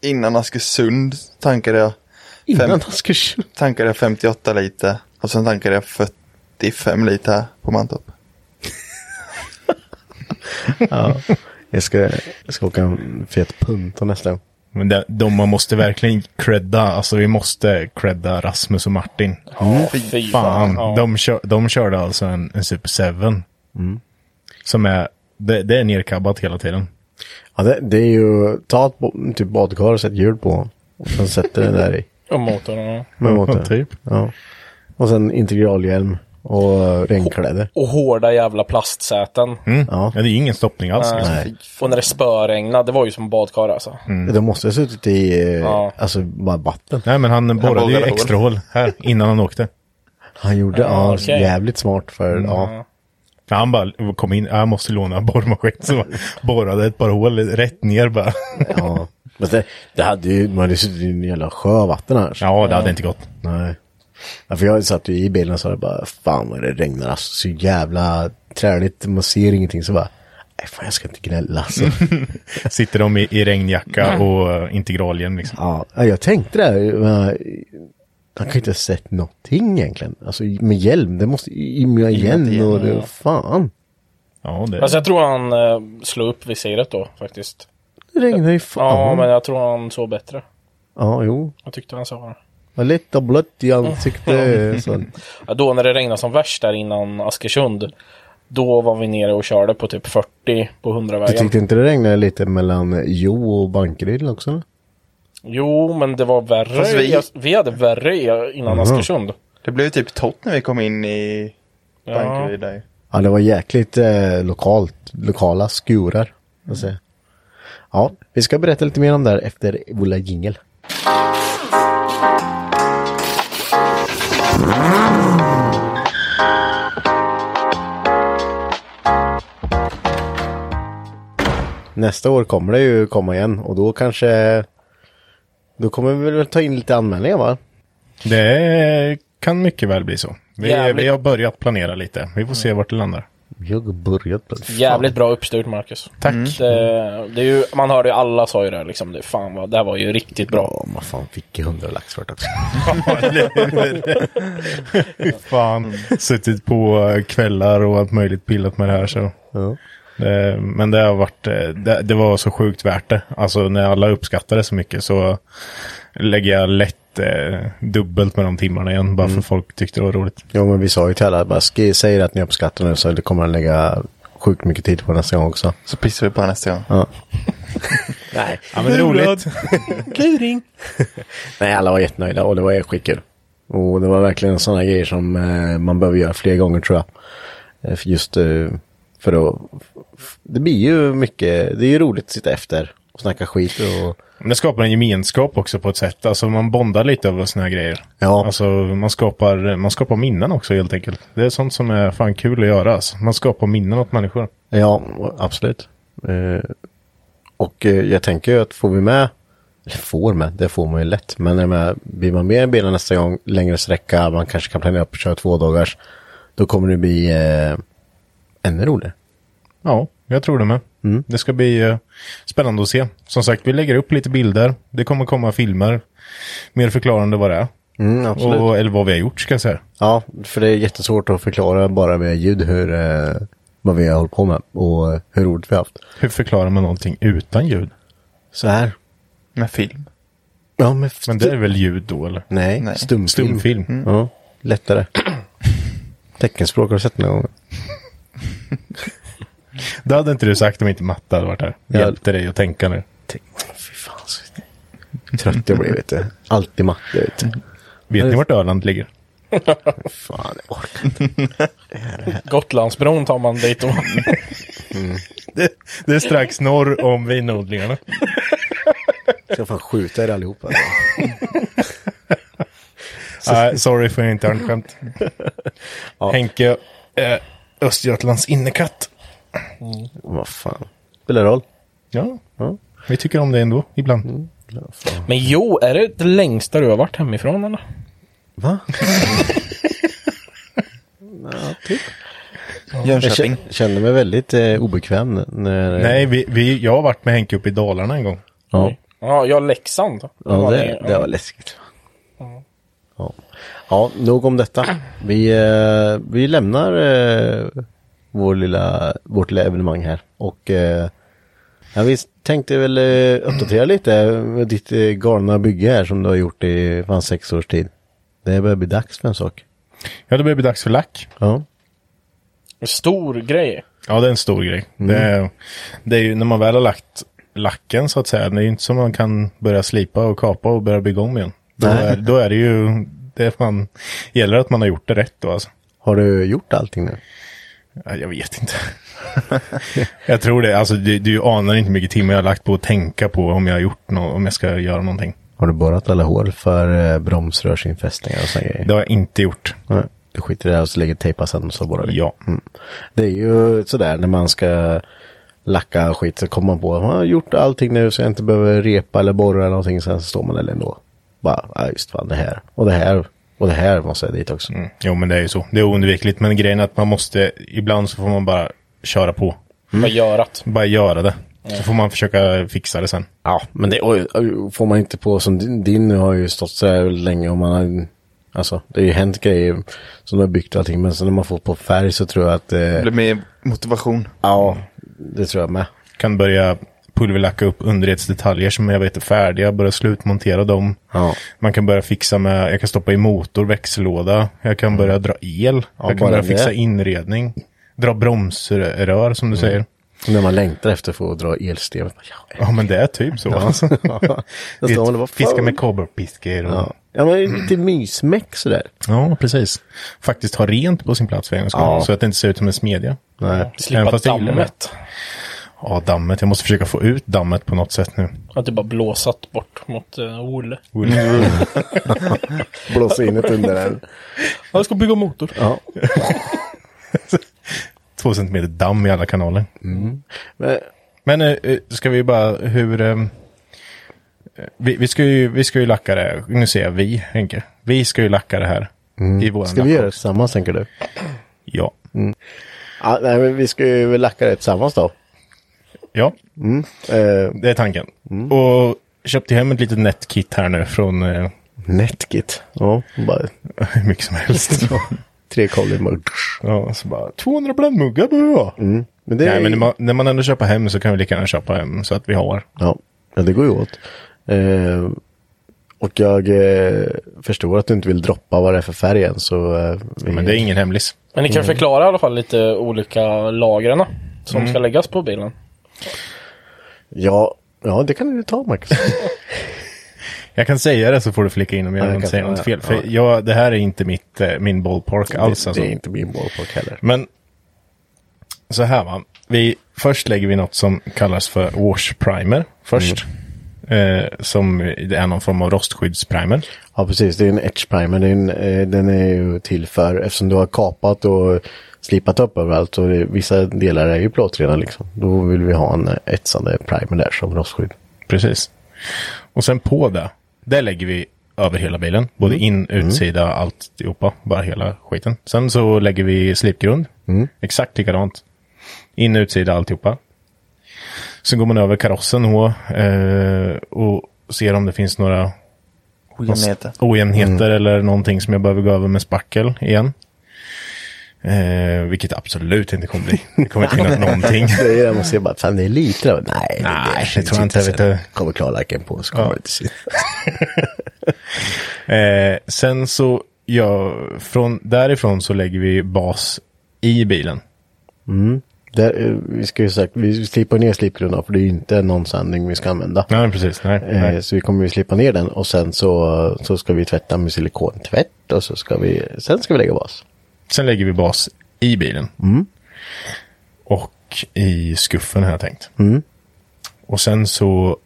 innan Askersund tankade jag,
Innan
Fem.
Askersund.
tankade jag 58 liter. Och sen tankade jag 45 liter här på Mantorp.
Jag ska, jag ska åka en fet punta nästa gång.
Men det, de man måste verkligen credda, alltså vi måste credda Rasmus och Martin.
Fy
Fan,
Ja.
de, kör, de körde alltså en, en Super 7. Som är, det, det är nerkabbat hela tiden.
Ja, det, det är ju, ta ett bo- typ badkar och sätt hjul på och sen sätter det där i.
Och motorn. ja.
Med motorn.
Ja, typ.
Ja. Och sen integralhjälm och eh, regnkläder.
Och hårda jävla plastsäten.
Ja.
Ja, det är ju ingen stoppning alls. liksom.
Nej.
Och när det spöregnade, det var ju som badkar alltså.
De måste ha suttit i, eh,
Ja.
alltså bara vatten.
Nej, men han borrade ju
borrade hål.
extra hål här innan han åkte.
Han gjorde, ja,
Ja, okej.
jävligt smart för, ja.
Ja, Han bara kom in, jag måste låna en borrmaskin. Så bara borrade ett par hål rätt ner bara.
ja. Men det, det hade ju, man hade ju suttit i en jävla sjö av vatten annars.
Ja, det hade inte gått.
Nej. Ja, för jag satt ju i bilen och sa det bara, fan vad det regnar alltså, så jävla träligt, man ser ingenting så bara, nej fan jag ska inte gnälla alltså.
Sitter de i, i regnjacka och eh, integralhjälm liksom.
ja, ja, jag tänkte det, här, men, han kan ju inte ha sett någonting egentligen. Alltså med hjälm, det måste imma igen och det, fan.
Ja, det,
Alltså jag tror han eh, slog upp visiret då faktiskt.
Det regnar ju
Ja,
fan.
men jag tror han såg bättre.
Ja, jo.
Jag tyckte han sa det.
Och Lite blött i ansiktet. så.
Ja, då när det regnade som värst där innan Askersund. Då var vi nere och körde på typ 40 på
Du
100-vägen.
tyckte inte det regnade lite mellan Jo och Bankeryd också? Eller?
Jo, men det var värre.
Fast vi-
Vi... vi hade värre i- innan Askersund.
Det blev ju typ tott när vi kom in i Bankeryd där ju.
Ja, det var jäkligt eh, lokalt. Lokala skurar. Alltså. Ja, vi ska berätta lite mer om det här efter vår jingel. Nästa år kommer det ju komma igen och då kanske... Då kommer vi väl ta in lite anmälningar va?
det kan mycket väl bli så. Vi,
Jävligt.
vi har börjat planera lite. Vi får se vart det landar.
Jag har börjat. Fan.
Jävligt bra uppstyrt Marcus. Tack. Det, det är ju, man hörde ju alla sa ju det här, liksom. Det, fan vad, det här var ju riktigt bra.
Ja, man fan fick ju hundra lax för det också.
Fy Fan, suttit på eh, kvällar och allt möjligt pillat med det här så.
Ja.
Eh, Men det har varit, eh, det, det var så sjukt värt det. Alltså när alla uppskattade så mycket så lägger jag lätt eh, dubbelt med de timmarna igen. Bara för folk tyckte det var roligt.
Jo, men vi sa ju till alla, bara sk- säger att ni uppskattar nu så det kommer att lägga sjukt mycket tid på nästa gång också.
Så pissar vi på det nästa gång.
Ja.
Nej.
Ja, men det är roligt.
Kluring.
Nej, alla var jättenöjda och det var skitkul. Och det var verkligen sådana grejer som eh, man behöver göra fler gånger tror jag. Eh, för Just eh, för att... Det blir ju mycket... Det är ju roligt att sitta efter och snacka skit och...
Men det skapar en gemenskap också på ett sätt. Alltså man bondar lite över såna här grejer.
Ja.
Alltså man skapar, man skapar minnen också helt enkelt. Det är sånt som är fan kul att göra. Alltså. Man skapar minnen åt människor.
Ja, absolut. Eh, och eh, jag tänker ju att får vi med, eller får med, det får man ju lätt, men jag menar, blir man med i bilen nästa gång, längre sträcka, man kanske kan planera på att köra två dagars, då kommer det bli eh, ännu roligare.
Ja, jag tror det med. Det ska bli eh, spännande att se. Som sagt, vi lägger upp lite bilder. Det kommer komma filmer. Mer förklarande vad det är. Och, eller vad vi har gjort ska jag säga.
Ja, för det är jättesvårt att förklara bara med ljud hur, eh, vad vi har hållit på med och eh, hur roligt vi har haft.
Hur förklarar man någonting utan ljud?
Så här.
Med film.
Ja, men,
Men det är väl ljud då eller?
Nej,
Nej.
stumfilm.
Stumfilm. Mm.
Ja, lättare. Teckenspråk har du sett någon gång?
Det hade inte du sagt om inte Matte hade varit här.
Ja.
Hjälpte dig att tänka nu.
Fy fan så trött jag blev vet du. Alltid matte vet du.
Vet ni vart Öland ligger?
Mm. Fan, jag orkar inte.
Gotlandsbron tar man dit och...
Det, det är strax norr om vinodlingarna.
Jag ska fan skjuta er allihopa. alltså.
Nej, sorry för internskämt. Henke, eh, Östergötlands innekatt.
Vad fan. Spelar roll.
Ja.
Ja.
vi tycker om det ändå, ibland.
Men jo, är det det längsta du har varit hemifrån eller?
Va? typ. Jag
Jönköping.
kä- kände mig väldigt eh, obekväm när...
Nej, vi, vi, jag har varit med Henke uppe i Dalarna en gång.
Ja,
Ja, jag Leksand.
ja
Var
det, det
ja.
var läskigt. Ja. ja, nog om detta. Vi, eh, vi lämnar eh, vår lilla, vårt lilla evenemang här. Och eh, ja, vi tänkte väl eh, uppdatera lite med ditt eh, galna bygge här som du har gjort i fan sex års tid. Det börjar bli dags för en sak.
Ja, det börjar bli dags för lack.
Ja,
Stor grej.
Ja, det är en stor grej. Det, är, det är ju när man väl har lagt lacken så att säga. Det är ju inte som man kan börja slipa och kapa och börja bygga om igen. Då
Nej.
är, då är det ju, det är fan, gäller att man har gjort det rätt då alltså.
har du gjort allting nu?
Ja, Jag vet inte. jag tror det. Alltså, du, du anar inte hur mycket timmar jag har lagt på att tänka på om jag har gjort något, om jag ska göra någonting.
Har du borrat alla hål för eh, bromsrörsinfästningar och sådana grejer?
Det har jag inte gjort.
Nej, Du skiter i det här och så lägger tejpa sen och så borrar vi.
Ja.
Mm. Det är ju sådär när man ska lacka och skit så kommer man på att man har gjort allting nu så jag inte behöver repa eller borra eller någonting. Sen så står man där ändå. Bara, ja just fan det här och det här och det här måste jag dit också.
Mm. Jo, men det är ju så. Det är oundvikligt. Men grejen är att man måste, ibland så får man bara köra på.
Vad gör att?
Bara göra det. Så får man försöka fixa det sen.
Ja, men det och, och, får man inte på som din, din nu har ju stått så här länge och man har Alltså det har ju hänt grejer som du har byggt och allting men sen när man får på färg så tror jag att
Det
eh,
blir mer motivation.
Ja, det tror jag med.
Kan börja pulverlacka upp underredsdetaljer som jag vet är färdiga. Börja slutmontera dem.
Ja.
Man kan börja fixa med, jag kan stoppa i motor, växellåda. Jag kan börja dra el. jag
bara
kan börja
det. Mm.
fixa inredning. Dra bromsrör som du säger.
När man längtar efter att få dra elsteget. Ja,
Ja men det är typ så. alltså.
Jag står och håller på,
Fiska
fan.
med kobberpiskor. Och... Ja.
Ja. ja, men det är lite mysmäck sådär.
precis. Faktiskt ha rent på sin plats för en
Ja.
ja. Så att det inte ser ut som en smedja.
Nej.
Även
Slippa
fast jag gillar det.
dammet.
Ja, dammet. Jag måste försöka få ut dammet på något sätt nu.
Att det bara blåsat bort mot uh, Olle.
Mm. Blåsa in ett under den.
Jag ska bygga motor.
Ja.
Två centimeter damm i alla kanaler.
Men,
Men eh, eh, ska vi bara, hur... eh, vi, vi, ska ju, vi ska ju lacka det här. Nu säger jag vi, Henke. Vi ska ju lacka det här. I
Mm.
våran
ska vi göra det
lackbox.
tillsammans tänker du?
Ja.
Ja, nej, men vi ska ju väl lacka det tillsammans då.
Ja,
Eh,
det är tanken. Och köpte hem ett litet netkit här nu från eh,
Netkit. Ja, bara
hur mycket som helst.
tre kollar bara...
ja, så bara 200 blandmuggar behöver jag.
Men det
Nej, men när man, när man ändå köper hem så kan vi lika gärna köpa hem så att vi har.
Ja, ja det går ju åt. Eh, och jag eh, förstår att du inte vill droppa vad det är för färg än så... Eh, vi...
Men det är ingen hemlis.
Men ni kan förklara i alla fall lite olika lagren. som ska läggas på bilen.
Ja, ja det kan du ta Marcus.
Jag kan säga det så får du flika in om
Ja,
jag
jag
inte
kan
säger
säga
något
det.
fel. För
Ja.
jag, det här är inte mitt, eh, min ballpark alls. Alltså.
Det är inte min ballpark heller.
Men så här va. Vi, först lägger vi något som kallas för wash primer först.
Mm.
Eh, som det är någon form av rostskyddsprimer.
Ja, precis. Det är en edge primer. Det är en, eh, den är ju till för, eftersom du har kapat och slipat upp överallt och det, vissa delar är ju plåtrena liksom. Då vill vi ha en eh, etsande primer där som rostskydd.
Precis. Och sen på det, där lägger vi över hela bilen. Både in, utsida, alltihopa. Bara hela skiten. Sen så lägger vi slipgrund. Exakt likadant. In, utsida, alltihopa. Sen går man över karossen och, eh, och ser om det finns några
Oh, Ojämnheter.
ojämnheter eller någonting som jag behöver gå över med spackel igen. Eh, vilket absolut inte kommer bli. Det kommer inte finnas någonting.
Det är det man ser bara, fan det är lite där. Nej,
Nej,
där
det
syns
tror jag inte, vet
sen.
du.
Kommer klarlacken på så kommer det inte synas.
Eh, sen så, ja, från, därifrån så lägger vi bas i bilen.
Där, eh, vi ska ju sagt, vi slipar ner slipgrunden för det är ju inte någon sandning vi ska använda.
Nej, precis. Nej,
Eh,
nej.
så vi kommer ju slipa ner den och sen så, så ska vi tvätta med silikontvätt och så ska vi, sen ska vi lägga bas.
Sen lägger vi bas i bilen. Och i skuffen har jag tänkt. Och sen så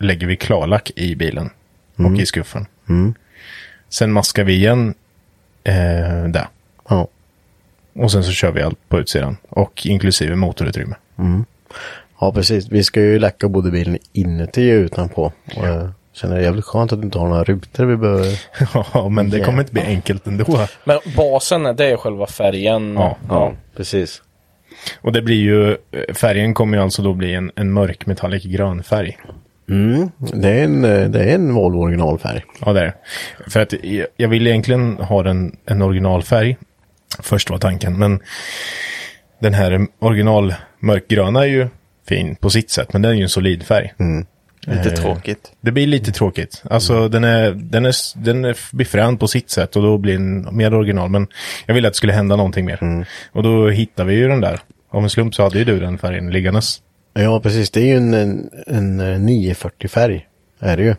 lägger vi klarlack i bilen och i skuffen. Sen maskar vi igen eh, där.
Ja.
Och sen så kör vi allt på utsidan. Och inklusive motorutrymme.
Ja, precis. Vi ska ju lacka både bilen inuti och utanpå. Och jag känner det jävligt skönt att du inte har några rutor vi behöver.
ja, men det kommer inte bli enkelt ändå.
Men basen, det är själva färgen.
Ja.
precis.
Och det blir ju, färgen kommer ju alltså då bli en, en mörk metallic grön färg.
Mm. Det är en, eh, det är en Volvo originalfärg.
Ja, det är det. För att jag- jag vill egentligen ha en, en originalfärg. Först var tanken, men den här original mörkgröna är ju fin på sitt sätt, men den är ju en solid färg. Eh,
Lite tråkigt.
Det blir lite tråkigt. Alltså den, är, den, är, s- den är blir frän på sitt sätt och då blir den mer original. Men jag ville att det skulle hända någonting mer. Och då hittar vi ju den där. Av en slump så hade ju du den färgen liggandes.
Ja, precis. Det är ju en, en, en eh, 940-färg. Är det ju.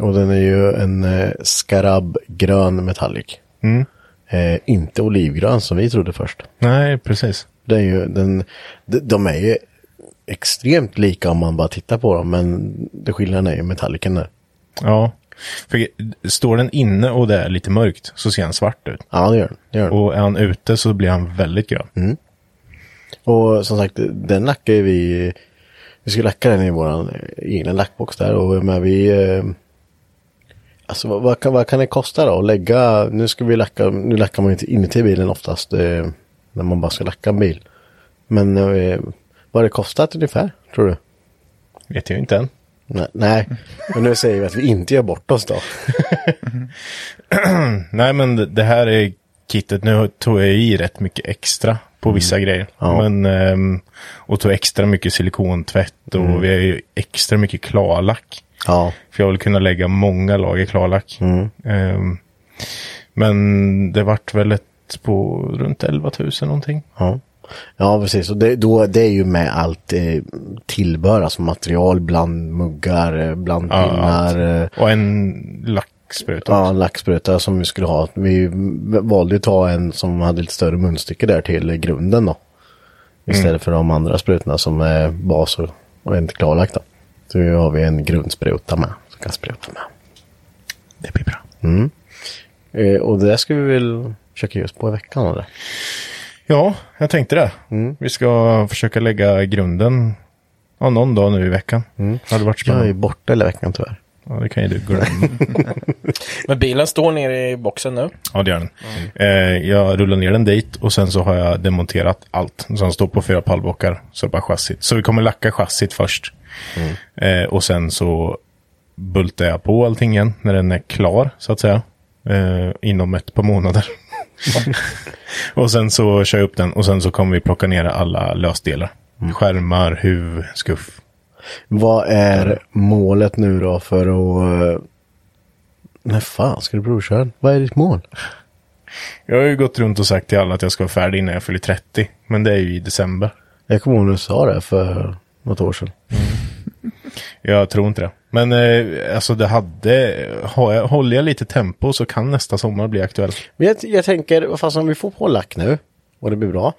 Och den är ju en eh, skarab grön metallic. Eh, inte olivgrön som vi trodde först.
Nej, precis.
Den är ju, den, de, de är ju extremt lika om man bara tittar på dem, men det skillnaden är ju metallicen där.
Ja. För står den inne och det är lite mörkt så ser han svart ut.
Ja, det gör den. Det gör den.
Och är han ute så blir han väldigt grön.
Mm. Och som sagt, den lackar ju vi. Vi ska lacka den i vår egna lackbox där. Och men vi... eh, Alltså vad, vad, kan, vad kan det kosta då att lägga... Nu ska vi lacka... Nu lackar man ju inte inuti bilen oftast. eh, När man bara ska lacka en bil. Men eh, vad har det kostat ungefär, tror du?
Vet jag ju inte än.
Nej, nej. men nu säger vi att vi inte gör bort oss då.
Nej, men det- det här är kittet. Nu tog jag i rätt mycket extra på vissa grejer.
Mm. Ja.
Men, ehm, och tog extra mycket silikontvätt och
Mm.
vi har ju extra mycket klarlack.
Ja,
För jag vill kunna lägga många lager klarlack.
Mm.
Ehm, men det vart väl ett på runt 11 000 någonting.
ja. Ja, precis. Och det, då, det är ju med allt eh, tillbehör, alltså material, bland muggar, eh, bland
Ja,
pinnar. eh,
Och en lackspruta.
Ja, en lackspruta som vi skulle ha. Vi valde att ta en som hade lite större munstycke där till grunden då. Istället för de andra sprutorna som är bas och, och inte klarlagt då. Så nu har vi en grundspruta med. Som kan spruta med.
Det blir bra.
Eh, och det ska vi väl försöka ge oss på i veckan eller?
Ja, jag tänkte det. Vi ska försöka lägga grunden ja, någon dag nu i veckan. Har det varit
Jag är
spännande?
borta hela veckan tyvärr.
Ja, det kan ju du glömma.
Men bilen står nere i boxen nu.
ja, det gör den. Eh, jag rullar ner den dit och sen så har jag demonterat allt. Så den står på fyra pallbockar. Så bara chassit. Så vi kommer lacka chassit först. Eh, och sen så bultar jag på allting igen när den är klar, så att säga. Eh, inom ett par månader. och sen så kör jag upp den och sen så kommer vi plocka ner alla lösdelar. Skärmar, huv, skuff.
Vad är målet nu då för att... eh, När fan ska du provköra den? Vad är ditt mål?
Jag har ju gått runt och sagt till alla att jag ska vara färdig innan jag fyller 30. Men det är ju i december.
Jag kommer ihåg när du sa det för något år sedan.
Jag tror inte det. Men eh, alltså det hade, har jag, håller jag lite tempo så kan nästa sommar bli aktuell.
Men jag, jag tänker, vad fan om vi får på lack nu och det blir bra.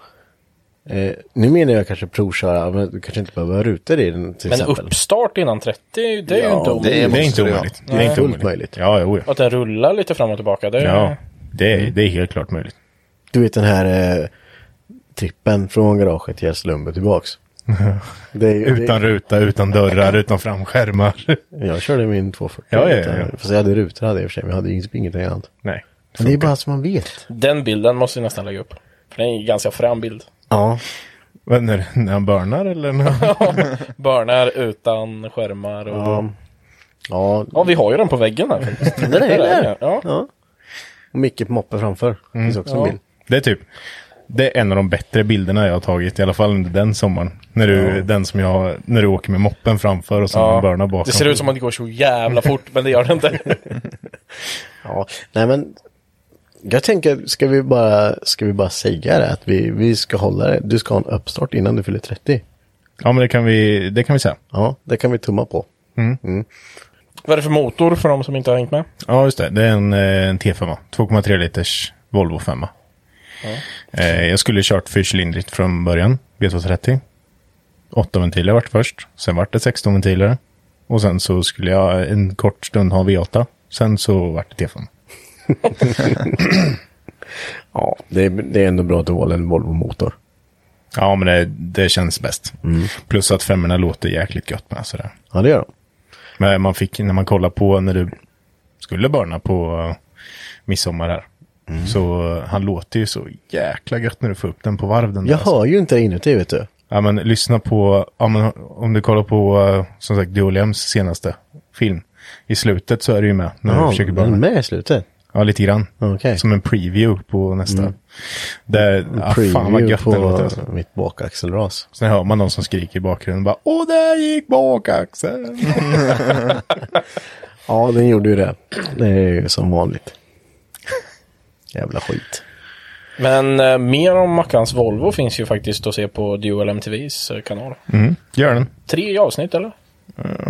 Eh, nu menar jag kanske provköra, men du kanske inte behöver ha rutor i den till
Men
exempel.
uppstart innan 30, det är ju inte
det
omöjligt.
oh, Det är
måste
inte
det vara.
omöjligt. Det är inte
Fullt
omöjligt.
möjligt.
Ja, jo, ja.
Att den rullar lite fram och tillbaka, det är
ja det, är, det är helt klart möjligt.
Du vet den här eh, trippen från garaget till Gästlundby tillbaks. det är, ju-
Utan ruta, utan dörrar, utan framskärmar.
det, jag körde min 240.
Ja, ja,
utan-
ja.
Fast jag hade rutor hade jag i och för sig, men jag hade ju inget- ingenting annat.
Nej.
Men det är bara så man vet.
Den bilden måste vi nästan lägga upp. För det är en ganska frän bild.
Ja,
Vad, när, när han börnar eller? När...
Börnar utan skärmar och... Ja.
ja.
vi har ju den på väggen här faktiskt.
Den är ju där.
Ja.
ja. Och Micke på moppe framför. Finns också en bild.
det är typ, det är en av de bättre bilderna jag har tagit, i alla fall under den sommaren. När du, den som jag, när du åker med moppen framför och sen
Ja.
börnar bakom.
Det ser ut som att det går så jävla fort, men det gör det inte.
Ja, nej men jag tänker, ska vi bara, ska vi bara säga det? Att vi, vi ska hålla det. Du ska ha en uppstart innan du fyller 30.
Ja, men det kan vi, det kan vi säga.
Ja, det kan vi tumma på.
Vad är det för motor för de som inte har hängt med?
Ja, just det. Det är en, eh, en T5. va? 2,3 liters Volvo 5. Eh, jag skulle kört fyrcylindrigt från början. B230. 8 ventiler vart först. Sen vart det 16 ventiler. Och sen så skulle jag en kort stund ha V8. Sen så vart det T5.
Ja, det är, det är ändå bra att du håller en Volvo-motor.
Ja, men det, det känns bäst. Plus att femmorna låter jäkligt gött med sådär.
Ja, det gör de.
Men man fick, när man kollar på när du skulle börna på eh, midsommar här. Så eh, han låter ju så jäkla gött när du får upp den på varv. Den där,
Jag
alltså.
hör ju inte det inuti, vet du.
Ja men lyssna på, ja, men, om du kollar på eh, som sagt Duoliams senaste film. I slutet så är du ju med när du
Ja,
försöker
den är
börja.
med i slutet.
Ja lite grann.
Okej.
Som en preview på nästa. Där, ja, fan vad
Preview
gött den låter.
på
Alltså.
mitt bakaxelras.
Sen hör man någon som skriker i bakgrunden bara Åh där gick bakaxeln.
Ja, den gjorde ju det. Det är ju som vanligt. Jävla skit.
Men eh, mer om Mackans Volvo finns ju faktiskt att se på Dual MTVs eh, kanal.
Mm, gör den.
Tre avsnitt eller?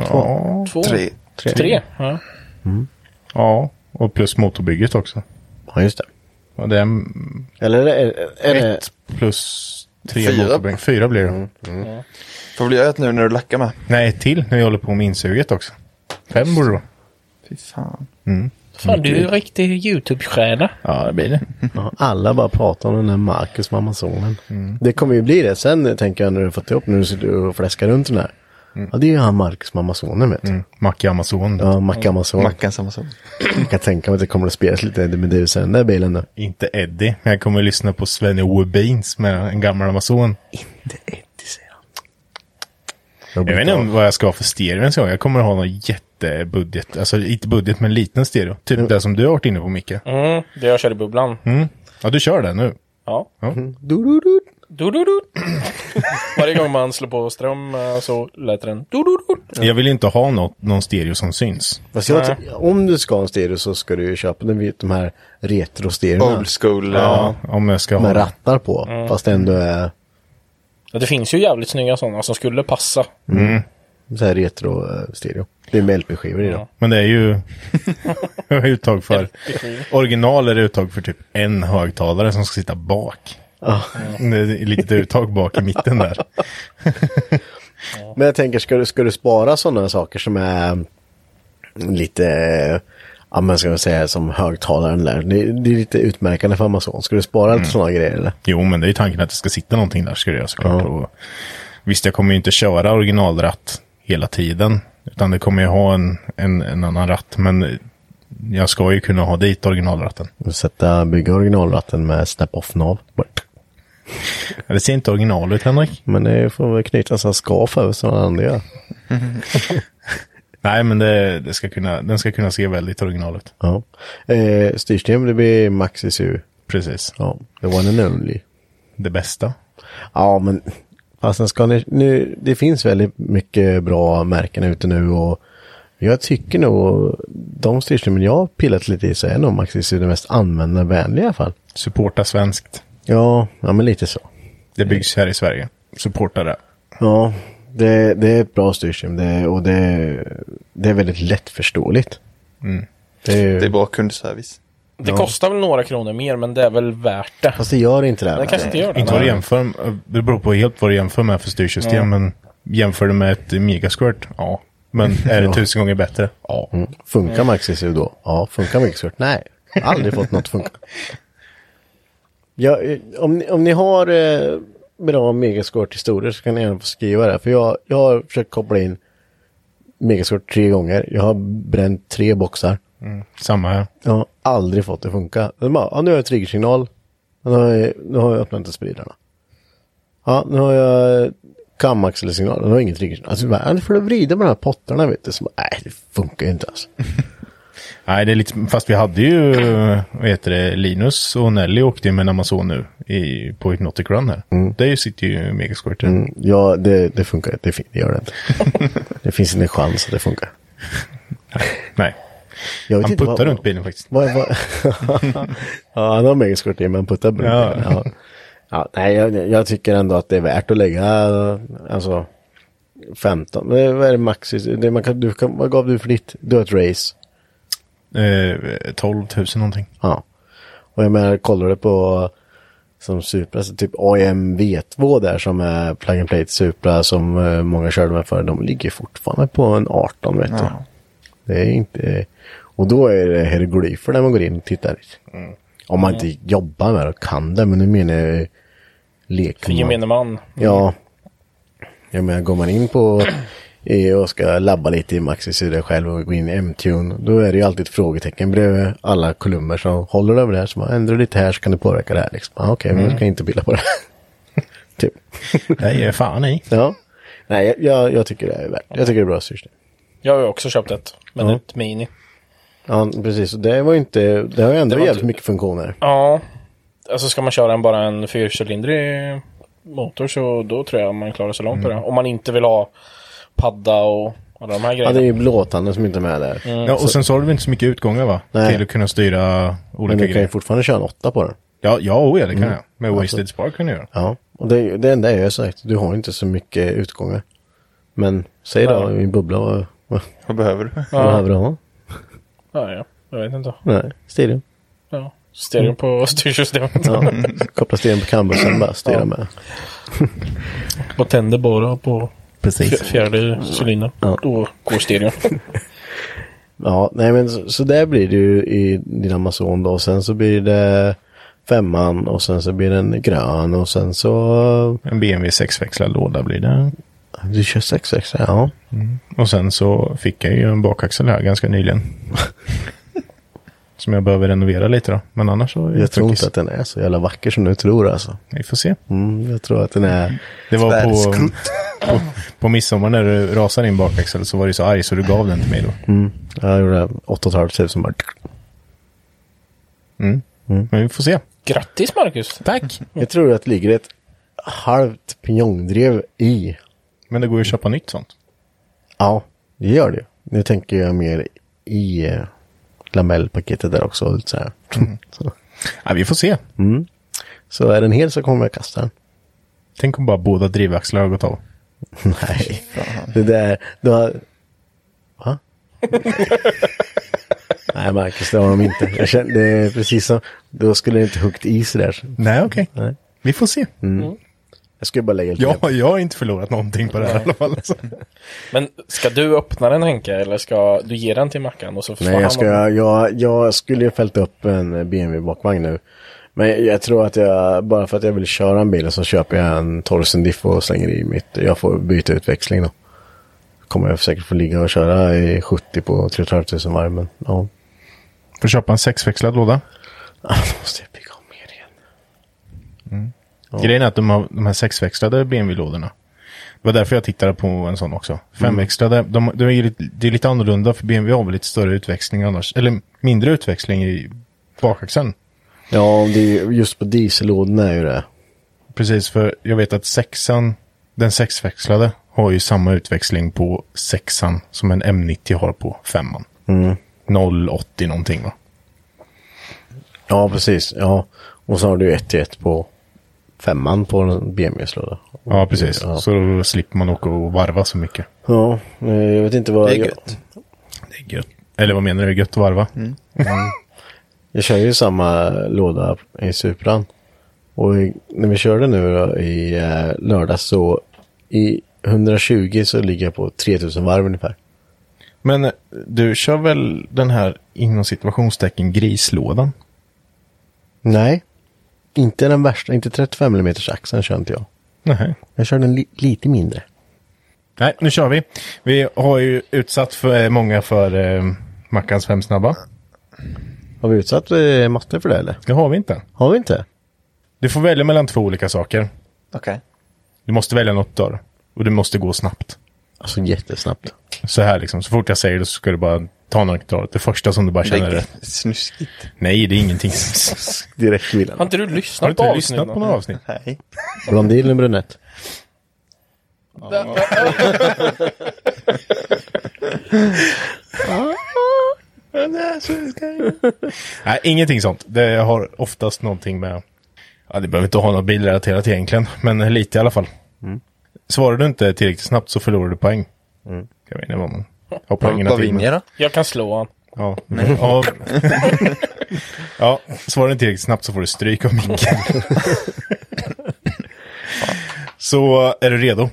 Ja.
Två?
Tre.
Tre. Ja.
ja. Och plus motorbygget också.
Ja, just det.
Ja, det är mm,
Eller är, är det...
ett plus tre
Fyra.
motorbygg. Fyra blir det.
Får bli ett nu när du lackar med.
Nej, ett till när jag håller på med insuget också. Fem borde det vara.
Fy fan.
Fan, du är ju riktig YouTube-stjärna.
Ja, det blir det.
Ja, alla bara pratar om den där Marcus med Amazonen.
Mm.
Det kommer ju bli det sen eh, tänker jag när du har fått ihop, när du sitter och fläskar runt den här.
Mm.
Ja det är ju han Marcus med Amazonen vet du.
Macke Amazon.
Ja, Mac Amazon.
Mackan samma sak.
Jag kan tänka mig att det kommer att spelas lite Medusa i den där bilen nu.
Inte Eddie, men jag kommer att lyssna på Sven-Ove Beans med en gammal Amazon. Jag vet inte om vad jag ska ha för stereo ens en gång. Jag kommer att ha någon jättebudget. Alltså inte budget, men liten stereo. Typ det som du har varit inne på Micke.
Mm, det jag kör i bubblan.
Ja, du kör det nu.
Ja.
Du, du, du.
Du, du, du. Varje gång man slår på ström eh, så lät den... Du, du, du.
Jag vill inte ha något, någon stereo som syns.
Fast jag, ty- om du ska ha en stereo så ska du ju köpa den, vid de här retrostereorna.
Old school.
Ja. Om jag ska ha...
Med rattar på.
Mm.
Fast ändå är
Ja, det finns ju jävligt snygga sådana som skulle passa.
så här retro-stereo. Det är med LP-skivor i dem.
Men det är ju uttag för... Original är det uttag för typ en högtalare som ska sitta bak. Det är ett litet uttag bak i mitten där.
Men jag tänker, ska du, ska du spara sådana saker som är lite, eh, ja men ska man säga som högtalaren där. Det, det är lite utmärkande för Amazon. Ska du spara lite sådana grejer eller?
Jo, men det är ju tanken att det ska sitta någonting där ska det göra såklart. Och visst, jag kommer ju inte köra originalratt hela tiden. Utan det kommer ju ha en, en, en annan ratt. Men jag ska ju kunna ha dit originalratten.
Sätta, bygga originalratten med snap-off-nav.
Ja, Det ser inte original ut, Henrik.
Men det får väl knytas en skaf över sådana andra gör.
Nej, men det, det ska kunna, den ska kunna se väldigt original ut.
Ja. Eh, styrsystem, det blir Maxis U.
Precis.
Ja, the one and only.
Det bästa.
Ja, men fast sen ska ni, nu, det finns väldigt mycket bra märken ute nu och jag tycker nog de styrsystemen jag har pillat lite i så är nog Maxis det mest användarvänliga i alla fall.
Supporta svenskt.
Ja, ja men lite så.
Det byggs här i Sverige. supportar det.
Ja, det, det är ett bra styrsystem det, och det, det är väldigt lättförståeligt. Mm. Det är,
Det är bra kundservice.
Det kostar väl några kronor mer, men det är väl värt det.
Fast det gör inte det. här.
Det kanske inte gör det.
Inte vad du
nej.
jämför, det beror på helt vad du jämför med för styrsystem. Men jämför du med ett megasquirt? Ja. Men är det tusen gånger bättre? Ja.
Funkar MaxSU då? Ja. Funkar MaxSquirt? Nej. Aldrig fått något att funka. Ja, eh, om, ni, om ni har eh, bra megasquirt-historier så kan ni gärna få skriva det. För jag, jag har försökt koppla in megasquirt tre gånger. Jag har bränt tre boxar.
Samma här.
Jag har aldrig fått det att funka. De bara, ja, nu har jag triggersignal. Nu har jag, nu har jag öppnat inte spridarna. Ja, nu har jag kamaxelsignal. Nu har jag ingen triggersignal. Alltså, bara, ja, nu får du vrida på de här pottarna vet du. Så, bara, nej, det funkar ju inte alltså.
Nej, det är lite, fast vi hade ju vad heter det, Linus och Nelly åkte ju med Amazon nu i, på Hypnotic Run här. Där sitter ju megasquirten.
Mm, Ja, det, det funkar inte. Det, fin- det gör det inte. det finns inte en chans att det funkar.
Nej,
Jag vet
han
inte
puttar
vad-
runt bilen faktiskt.
Vad, vad, ja, han har megaskort i, men han puttar runt
Ja.
bilen. Ja. Ja, nej, jag, jag tycker ändå att det är värt att lägga alltså 15. Men det- Vad är det maxis? Det man kan, du kan, vad gav du för ditt? Du har ett race.
Eh, 12 000 någonting.
Ja. Och jag menar, kollar du på som Supra, så typ AMV 2 där som är plug and play till Supra som eh, många körde med förr, de ligger fortfarande på en 18 vet du. Det är inte... Och då är det hieroglyfer när man går in och tittar.
Mm.
Om man inte jobbar med det och kan det, men nu menar jag
För
lekman.
gemene man.
Ja. Jag menar, går man in på EU och ska labba lite i Maxis sida själv och gå in i M-tune, då är det ju alltid ett frågetecken bredvid alla kolumner som håller över det här. Så man ändrar lite här så kan det påverka det här liksom. Ah, Okej, men jag ska inte pilla på det. typ.
Nej, eh, fan i.
Ja. Nej, jag- jag, jag tycker det är värt Jag tycker det är bra styrsystem.
Jag har ju också köpt ett, men ett mini.
Ja, precis. Och Det var ju inte, det har ju ändå
Det var
jävligt
inte-
mycket funktioner.
Ja. Alltså ska man köra en, bara en fyrcylindrig motor så då tror jag man klarar sig långt på det. Om man inte vill ha padda och alla de
Mm. Ja,
här grejerna.
det är ju blåtanden som inte är med där.
Ja, och sen så har du väl inte så mycket utgångar va?
Nej.
Till att kunna styra
Men Mm.
olika
du kan ju
grejer.
fortfarande köra en åtta på den.
Ja, ja, oh, ja, det kan jag. Med
Alltså.
Wasted Spark kan du göra.
Ja, och det, är ju- det enda är ju som sagt, du har ju inte så mycket utgångar. Men säg då, min bubbla, vad, vad
Vad behöver du?
vad behöver du ha?
Ja, ja. Jag vet inte.
Nej, stereo.
Ja. Stereo på styrsystemet.
Mm. Ja. Koppla stereo på cambusen bara, styra med.
Och tänder bara på
Precis.
fj- fjärde cylindern. Då går stereon.
Ja, nej men så, så där blir det ju i din Amazon då. Och sen så blir det femman och sen så blir den grön och sen så...
En BMW sexväxlad låda blir det.
Du kör 6 ja.
Och sen så fick jag ju en bakaxel här ganska nyligen. som jag behöver renovera lite då. Men annars så... är det
Jag tror
fuckis.
inte att den är så jävla vacker som du tror alltså.
Vi får se.
Mm, jag tror att den är...
Det var på,
Tvärskrutt.
på, på midsommar när du rasade in bakaxel så var du så arg så du gav den till mig då.
Jag gjorde 8 500 bara...
Mm. Men vi får se.
Grattis Marcus!
Tack!
Jag tror att det ligger ett halvt pinjongdrev i.
Men det går ju att köpa nytt sånt.
Ja, det gör det. Nu tänker jag mer i eh, lamellpaketet där också. Så, här. så,
Ja, vi får se.
så är den hel så kommer jag kasta den.
Tänk om bara båda drivaxlar har gått av.
Nej, det där. Du har... Va? Nej, Marcus, det har de inte. Jag känner, det är precis som... Då skulle det inte huggit i så där.
Nej, okej.
Nej.
Vi får se.
Jag skulle bara lägga lite
Ja, jag har inte förlorat någonting på det här i alla fall. Alltså.
Men ska du öppna den Henke eller ska du ge den till Mackan och så får
Nej,
han-
jag, ska, jag, jag skulle ju fällt upp en BMW bakvagn nu. Men jag, jag tror att jag, bara för att jag vill köra en bil så köper jag en Torsen Diff och slänger i mitt. Jag får byta utväxling då. Kommer jag säkert få ligga och köra i 70 på 3 500 varv, men ja.
Får köpa en sexväxlad låda.
Ah, Då måste jag bygga om mer igen.
Grejen är att de, har, de här sexväxlade BMW-lådorna. Det var därför jag tittade på en sån också. Femväxlade, de, de är ju lite, det är lite annorlunda för BMW har väl lite större utväxling annars. Eller mindre utväxling i bakaxeln.
Ja, det är, ju- just på diesellådorna är ju det.
Precis, för jag vet att sexan, den sexväxlade, har ju samma utväxling på sexan som en M90 har på femman. Mm. 080 någonting va?
Ja, precis. Ja. Och så har du 1 till 1 på femman på en BMW-slåda.
Ja, precis. Så då slipper man åka och varva så mycket.
Ja, eh, jag vet inte vad...
Det är
jag-
gött.
Det är gött. Eller vad menar du? Gött att varva? Mm.
Jag kör ju samma låda i Supran. Och i- när vi körde nu då, i eh, lördag så i 120 så ligger jag på 3000 varv ungefär.
Men eh, du kör väl den här inom situationstecken grislådan?
Nej, inte den värsta, inte 35 mm axeln kör inte jag.
Nej.
Jag kör den li- lite mindre.
Nej, nu kör vi. Vi har ju utsatt för eh, många för eh, Mackans fem snabba.
Har vi utsatt eh, matte för det eller?
Det har vi inte.
Har vi inte?
Du får välja mellan två olika saker.
Okej.
Du måste välja något då. Och du måste gå snabbt.
Alltså jättesnabbt.
Så här liksom. Så fort jag säger det så ska du bara ta något av det första som du bara
Det
känner
är
rätt.
g- snuskigt.
Nej, det är ingenting.
Direkt
Har
villan.
inte du
Har du
lyssnat på
inte
avsnitten?
lyssnat på några avsnitt?
Nej.
Blondin eller brunett?
Nej, ingenting sånt. Det har oftast någonting med... Ja, det behöver inte ha något bilrelaterat egentligen, men lite i alla fall. Svarar du inte tillräckligt snabbt så förlorar du poäng. Jag vet inte vad man... Har poängen
Vad vinner jag då?
Jag kan slå han.
Ja. Ja. ja, svarar du inte tillräckligt snabbt så får du stryk av minken. så är du redo?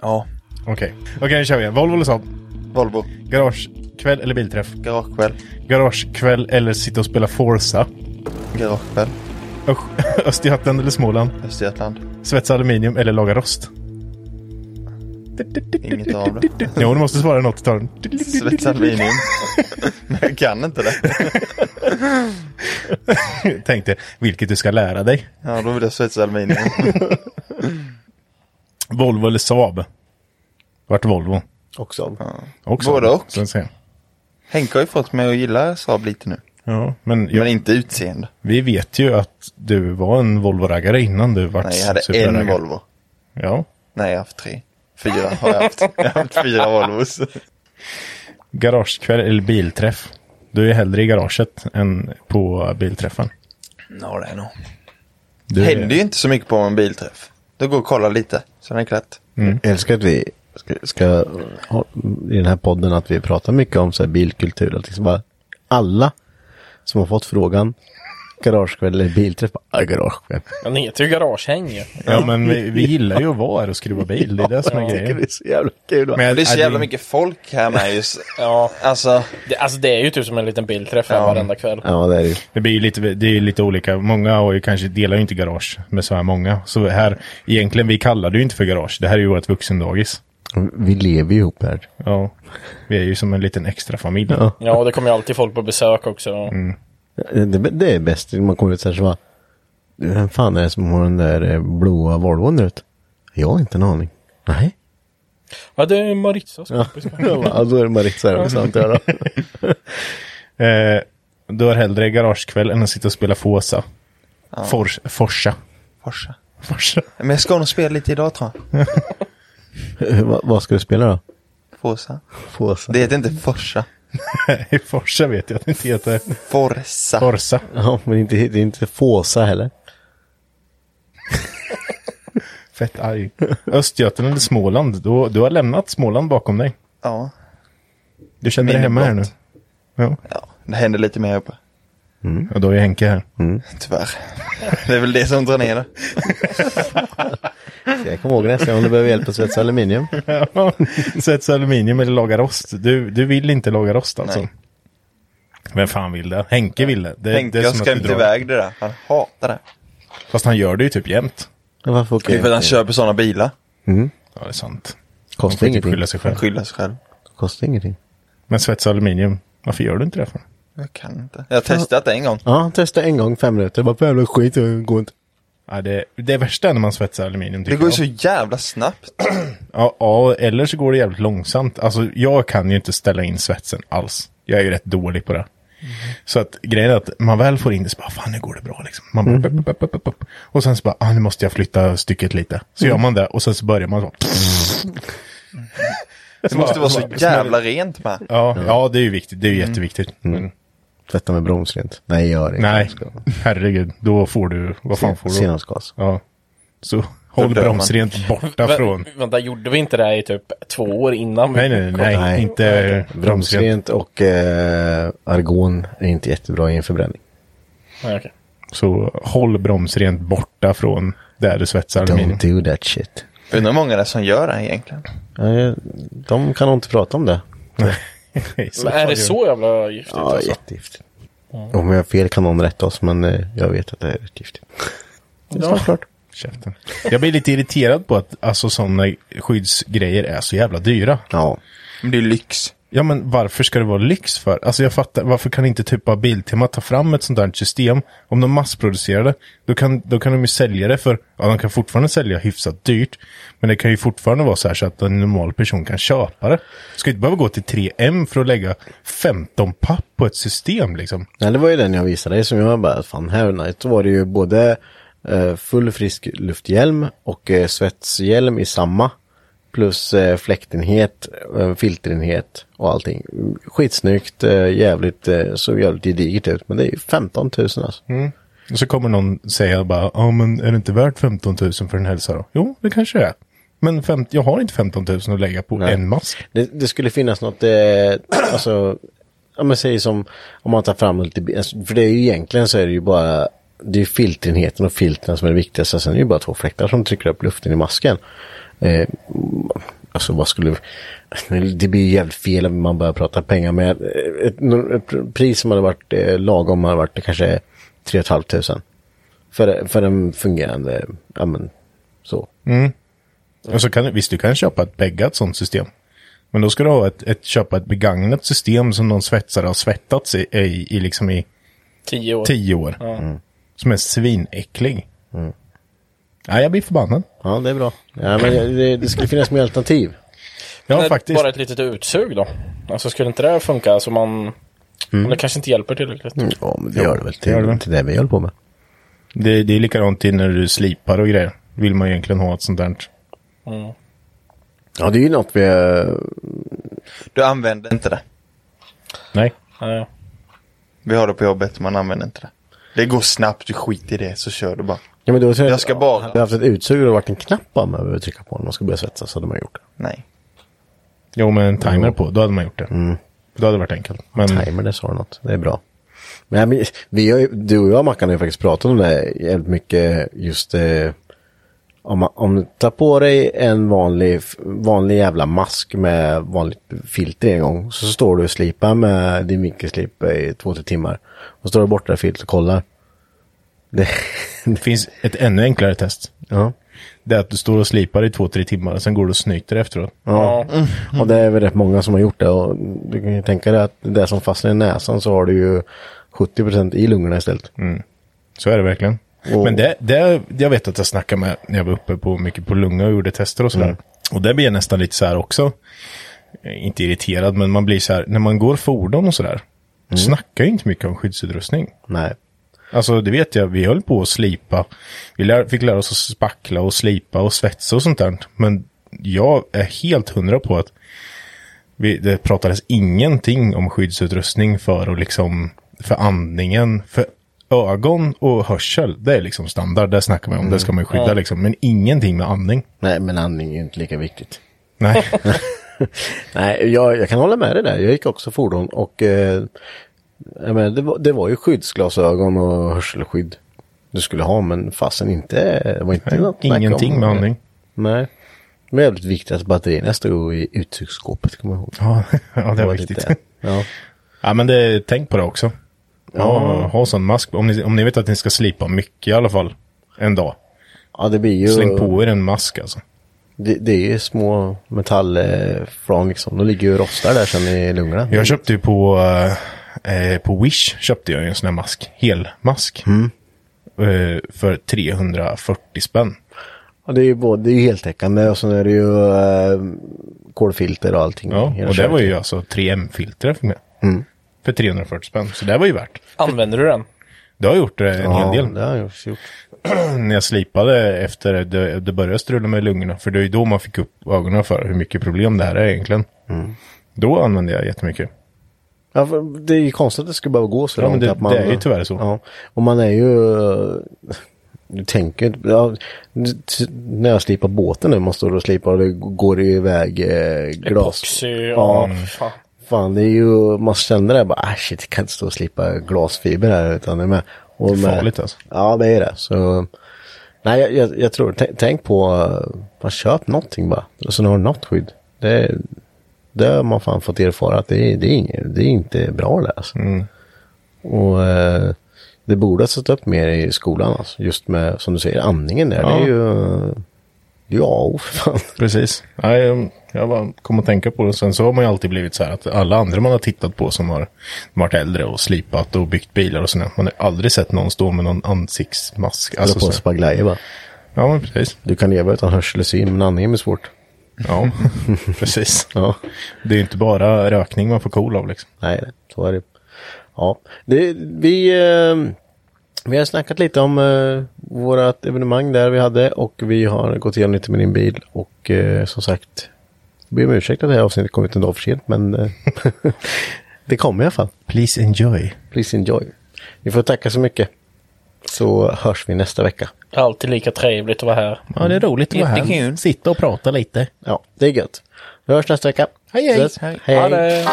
Ja.
Okej, okej nu kör vi. Volvo eller Saab?
Volvo.
Garagekväll eller bilträff?
Garagekväll.
Garagekväll eller sitta och spela Forza?
Garagekväll.
Öst- Östergötland eller Småland?
Östergötland.
Svetsa aluminium eller laga rost?
Inget av det.
Jo, du måste svara något. Ta den.
Svetsad aluminium. Men jag kan inte det.
Tänkte vilket du ska lära dig.
Ja, då vill jag svetsa aluminium.
Volvo eller Saab? Vart Volvo?
Också.
Också.
Både och.
Så att säga.
Henke har ju fått mig att gilla Saab lite nu.
Ja, men jag,
Men inte utseende.
vi vet ju att du var en Volvo-raggare innan du vart
Nej, jag hade en
superraggare.
Volvo.
Ja.
Nej, jag har haft tre. Fyra har jag haft. Jag har haft fyra Volvos.
Garagekväll eller bilträff? Du är hellre i garaget än på bilträffen.
Ja, det är nog.
Du är-
händer ju inte så mycket på en bilträff. Då går och kollar lite, sen är det klart.
Jag älskar att vi ska, ska ha, i den här podden att vi pratar mycket om så här bilkultur. Att liksom bara alla som har fått frågan garagekväll eller bilträff, bara "Ah, garagekväll.
Han heter ju Garagehäng ju.
Ja, men vi, vi gillar ju att vara här och skruva bil. Det är det som är
Jag tycker
grejen.
det är så jävla kul. va?
jag-
Det är så
ja,
jävla mycket folk här med just.
Ja,
Alltså,
det, alltså det är ju typ som en liten bilträff här
Ja.
varenda kväll.
Ja, det är det ju.
Det blir ju lite, det är ju lite olika. Många har ju kanske, delar ju inte garage med så här många. Så här, egentligen, vi kallar det ju inte för garage. Det här är ju vårt vuxendagis.
Vi lever ju ihop här.
Ja, vi är ju som en liten extra familj.
Ja.
Ja, och det kommer ju alltid folk på besök också.
Det, det är bäst. Man kommer ut så här så bara, "Du, vem fan är det som har den där eh, blåa Volvon ut? Jag har inte en aning. Nej.
Ja, det är Maritsas kompis.
Ja, då är det Maritza här också antar jag då.
Eh, du har hellre garagekväll än att sitta och spela Forza. Fors, forsa.
Forsa.
Forsa.
Men jag ska nog spela lite idag tror jag.
Eh, vad- Vad ska du spela då?
Forsa.
Fåsa?
Det heter inte Forsa.
Nej, forsa vet jag att det inte heter.
Forsa.
Forsa.
Ja, men inte, det är inte Fåsa heller.
Fett arg. Östergötland eller Småland? Du, du har lämnat Småland bakom dig.
Ja.
Du känner dig hemma här nu.
Minneblott. ja, det händer lite mer här uppe.
Ja, då är Henke här.
Tyvärr. Det är väl det som drar ner det.
Jag kommer ihåg nästa gång du behöver hjälp att svetsa aluminium.
Ja, Svetsa aluminium eller laga rost. Du, du vill inte laga rost alltså?
Nej.
Vem fan vill det? Henke vill det. det
Henke
det är
har
som att du
skrämt
drar-
iväg det där. Han hatar det.
Fast han gör det ju typ jämt.
Men Varför
Det
åker
är för att han
jag?
köper sådana bilar.
Ja, det är sant. Han
Kostar
får typ
ingenting.
skylla sig själv.
Han skyller sig själv.
Kostar ingenting.
Men svetsa aluminium, varför gör du inte det för?
Jag kan inte. Jag har testat det en gång.
Ja, han testade en gång fem minuter. Bara för jävla skit, det går inte.
Ja, det, det är värsta när man svetsar aluminium
Det
tycker
går ju
jag.
så jävla snabbt.
Ja, ja, eller så går det jävligt långsamt. Alltså, jag kan ju inte ställa in svetsen alls. Jag är ju rätt dålig på det. Så att grejen är att man väl får in det så bara, fan nu går det bra liksom. Man bara, pop, pop, pop, pop, pop. Och sen så bara, ah, nu måste jag flytta stycket lite. Så gör man det och sen så börjar man så.
Det måste vara så jävla rent med.
Ja, ja det är ju viktigt. Det är ju jätteviktigt. Men
Tvätta med bromsrent. Nej, gör det inte.
Nej, herregud. Då får du, vad fan får du?
Senapsgas.
Ja. Så håll
dör man.
bromsrent borta
Vä-
från.
Vänta, gjorde vi inte det här i typ två år innan? vi-
Nej, nej, nej,
Nej.
inte bromsrent.
Bromsrent och eh, argon är inte jättebra i en förbränning.
nej okej.
Så håll bromsrent borta från där du svetsar aluminium.
Don't do that shit.
Undrar hur många det är som gör det här egentligen.
Eh, de kan nog inte prata om det.
Nej, så
Men är
fan
det
gör-
så jävla giftigt?
Ja,
alltså?
jättegiftigt. Om jag har fel kan någon rätta oss, men eh, jag vet att det är rätt giftigt. Det är snart klart.
Käften. Jag blir lite irriterad på att alltså, sådana skyddsgrejer är så jävla dyra.
Ja.
Men det är lyx.
Ja men varför ska det vara lyx för? Alltså jag fattar, varför kan inte typ av Biltema ta fram ett sånt där system? Om de massproducerar det, då kan, då kan de ju sälja det för, ja de kan fortfarande sälja hyfsat dyrt. Men det kan ju fortfarande vara så här så att en normal person kan köpa det. Ska inte behöva gå till 3M för att lägga 15 papp på ett system liksom.
Nej, det var ju den jag visade dig som jag bara, fan här night. Då var det ju både eh, full frisk lufthjälm och eh, svetshjälm i samma. Plus eh, fläktenhet, eh, filterenhet och allting. Skitsnyggt, eh, jävligt, eh, så jävligt gediget ut. Men det är ju 15 000 alltså.
Och så kommer någon säga bara, ja men är det inte värt 15 000 för en hälsa då? Jo, det kanske det är. Men fem, jag har inte 15 000 att lägga på
Nej.
en mask.
Det, det skulle finnas något, eh, alltså, ja men säg som om man tar fram lite, bi- alltså, för det är ju egentligen så är det ju bara, det är ju filterenheten och filtren som är det viktigaste. Sen är det ju bara två fläktar som trycker upp luften i masken. Eh, alltså vad skulle, det blir ju jävligt fel om man börjar prata pengar med eh, ett, ett pris som hade varit eh, lagom hade varit kanske 3 500 för, för en fungerande, ja men så.
Och så Alltså, kan, visst, du kan köpa ett beggat sånt system. Men då ska du ha ett, ett, köpa ett begagnat system som någon svetsare har svettats i, i, i, liksom i
Tio år.
tio år.
Mm.
Som är svinäcklig. Ja, jag blir förbannad.
Ja det är bra. Ja, men det, det skulle finnas mer alternativ.
Ja,
Men
faktiskt.
Bara ett litet utsug då? Alltså skulle inte det här funka? Så man... Det kanske inte hjälper tillräckligt.
Ja, men det gör det väl till,
det gör det väl.
till det vi håller på med.
Det, det är likadant till när du slipar och grejer. Vill man egentligen ha ett sånt där.
Ja, det är ju något vi... eh,
Du använder inte det.
Nej.
Nej.
Vi har det på jobbet, man använder inte det. Det går snabbt, du skiter i det så kör du bara.
Ja, men då tror
Jag ska baka.
Hade vi haft ett utsug och det varit en knapp bara man behöver trycka på när man ska börja svetsa så hade man gjort det.
Nej.
Jo, men en timer på, då hade man gjort det. Då hade det varit enkelt. Men
Mm. Timer, det sa du något. Det är bra. Men, men vi har, ju- du och jag, Mackan, har ju faktiskt pratat om det här jävligt mycket just... Eh, om, man- om ta på dig en vanlig, vanlig jävla mask med vanligt filter en gång. Så står du och slipar med din mikroslip i två, tre timmar. Och står du borta i filtret och kollar. Det,
det finns ett ännu enklare test.
ja.
Det är att du står och slipar i två, tre timmar och sen går du och snyter efteråt.
Ja.
Och det är väl rätt många som har gjort det. Och du kan ju tänka dig att det som fastnar i näsan så har du ju 70% i lungorna istället.
Mm. Så är det verkligen.
Och-
Men det, det, jag vet att jag snackade med när jag var uppe på mycket på Lunga och gjorde tester och sådär. Och där blir jag nästan lite så här också. Eh, Inte irriterad, men man blir så här, när man går fordon och sådär. Mm. Snackar ju inte mycket om skyddsutrustning.
Nej.
Alltså det vet jag, vi höll på att slipa. Vi lär, fick lära oss att spackla och slipa och svetsa och sånt där. Men jag är helt hundra på att vi, det pratades ingenting om skyddsutrustning för och liksom för andningen. För ögon och hörsel, det är liksom standard. Det snackar man om, det ska man ju skydda liksom. Men ingenting med andning.
Nej, men andning är ju inte lika viktigt.
Nej,
Nej, jag, jag kan hålla med dig där. Jag gick också fordon och eh, jag menar, det, var, det var ju skyddsglasögon och hörselskydd du skulle ha, men fasen inte. Det var inte något snack om-
ingenting med andning.
Nej. Men jävligt viktigt att batterierna stod i utsugsskåpet, kommer jag ihåg.
Ja, ja det är
var
viktigt.
lite- Ja.
Ja, men det, tänk på det också. Ja, ha sån mask. Om ni, om ni vet att ni ska slipa mycket i alla fall en dag.
ja, det blir ju...
Släng på er en mask alltså.
Det, det är ju små metallflan liksom. De ligger ju och rostar där sen i lungorna.
Jag köpte ju på, eh, eh, på Wish köpte jag ju en sån här mask. Helmask.
Mm.
Eh, för 340 spänn.
Ja, det är ju både, det är ju heltäckande och sen är det ju eh, kolfilter och allting.
Ja,
Hela Mm.
och det
köret.
var ju alltså 3M-filter jag fick med. För 340 spänn. Så det var ju värt.
Använder du den?
Det har gjort det en
ja,
hel del.
det har jag också gjort.
När jag slipade efter det, det började strula med lungorna. För det är ju då man fick
Mm.
upp ögonen för hur mycket problem det här är egentligen. Då använde jag jättemycket.
Ja, för det är ju konstigt att det ska behöva gå så
Ja,
långt.
men det-
att man,
det är ju tyvärr så.
Ja, och man är ju... eh, Du tänker inte- ja, t- När jag slipar båten nu, man står och slipar och det går iväg eh, glas.
Epoxy
Ja.
och... Fan.
Fan, det är ju... Man känner det bara, ah, shit, jag kan inte stå och slipa glasfiber här utan det är med. Och
Det är farligt, alltså.
Ja, det är det. Så... Nej, jag, jag, jag tror, tänk, tänk på, eh, bara köp någonting bara. Alltså, nu har du något skydd. Det, det har man fan fått erfara att det, är- det, är, inget, det är inte bra det här, alltså.
Mm.
Och eh, det borde ha satt upp mer i skolan alltså. Just med, som du säger, andningen där. Det är
Ja. Alltså,
ju, eh, det är ju A och O för fan.
Precis. Nej, um, jag bara kom att tänka på det. Sen så har man ju alltid blivit så här att alla andra man har tittat på som har varit äldre och slipat och byggt bilar och sådär. Man har aldrig sett någon stå med någon ansiktsmask.
Alltså,
så
på
här.
spaglajer bara.
ja, men precis.
Du kan leva utan hörsel och syn, men andningen är svårt.
Ja, precis.
Ja.
Det är ju inte bara rökning man får KOL av liksom.
Nej, så är det. Ja, det, vi, eh, vi har snackat lite om eh, vårat evenemang där vi hade och vi har gått igenom lite med din bil och eh, som sagt, jag ber om ursäkt att det här avsnittet kom ut en dag för sent men eh, det kommer i alla fall.
Please enjoy.
Please enjoy. Ni får tacka så mycket. Så hörs vi nästa vecka.
Alltid lika trevligt att vara här.
Ja, det är roligt att vara här.
Jättekul.
Sitta och prata lite.
Ja, det är gött. Vi hörs nästa vecka.
Hej, hej.
Ses.
Hej.
hej.
Ha det!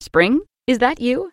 Spring? Is that you?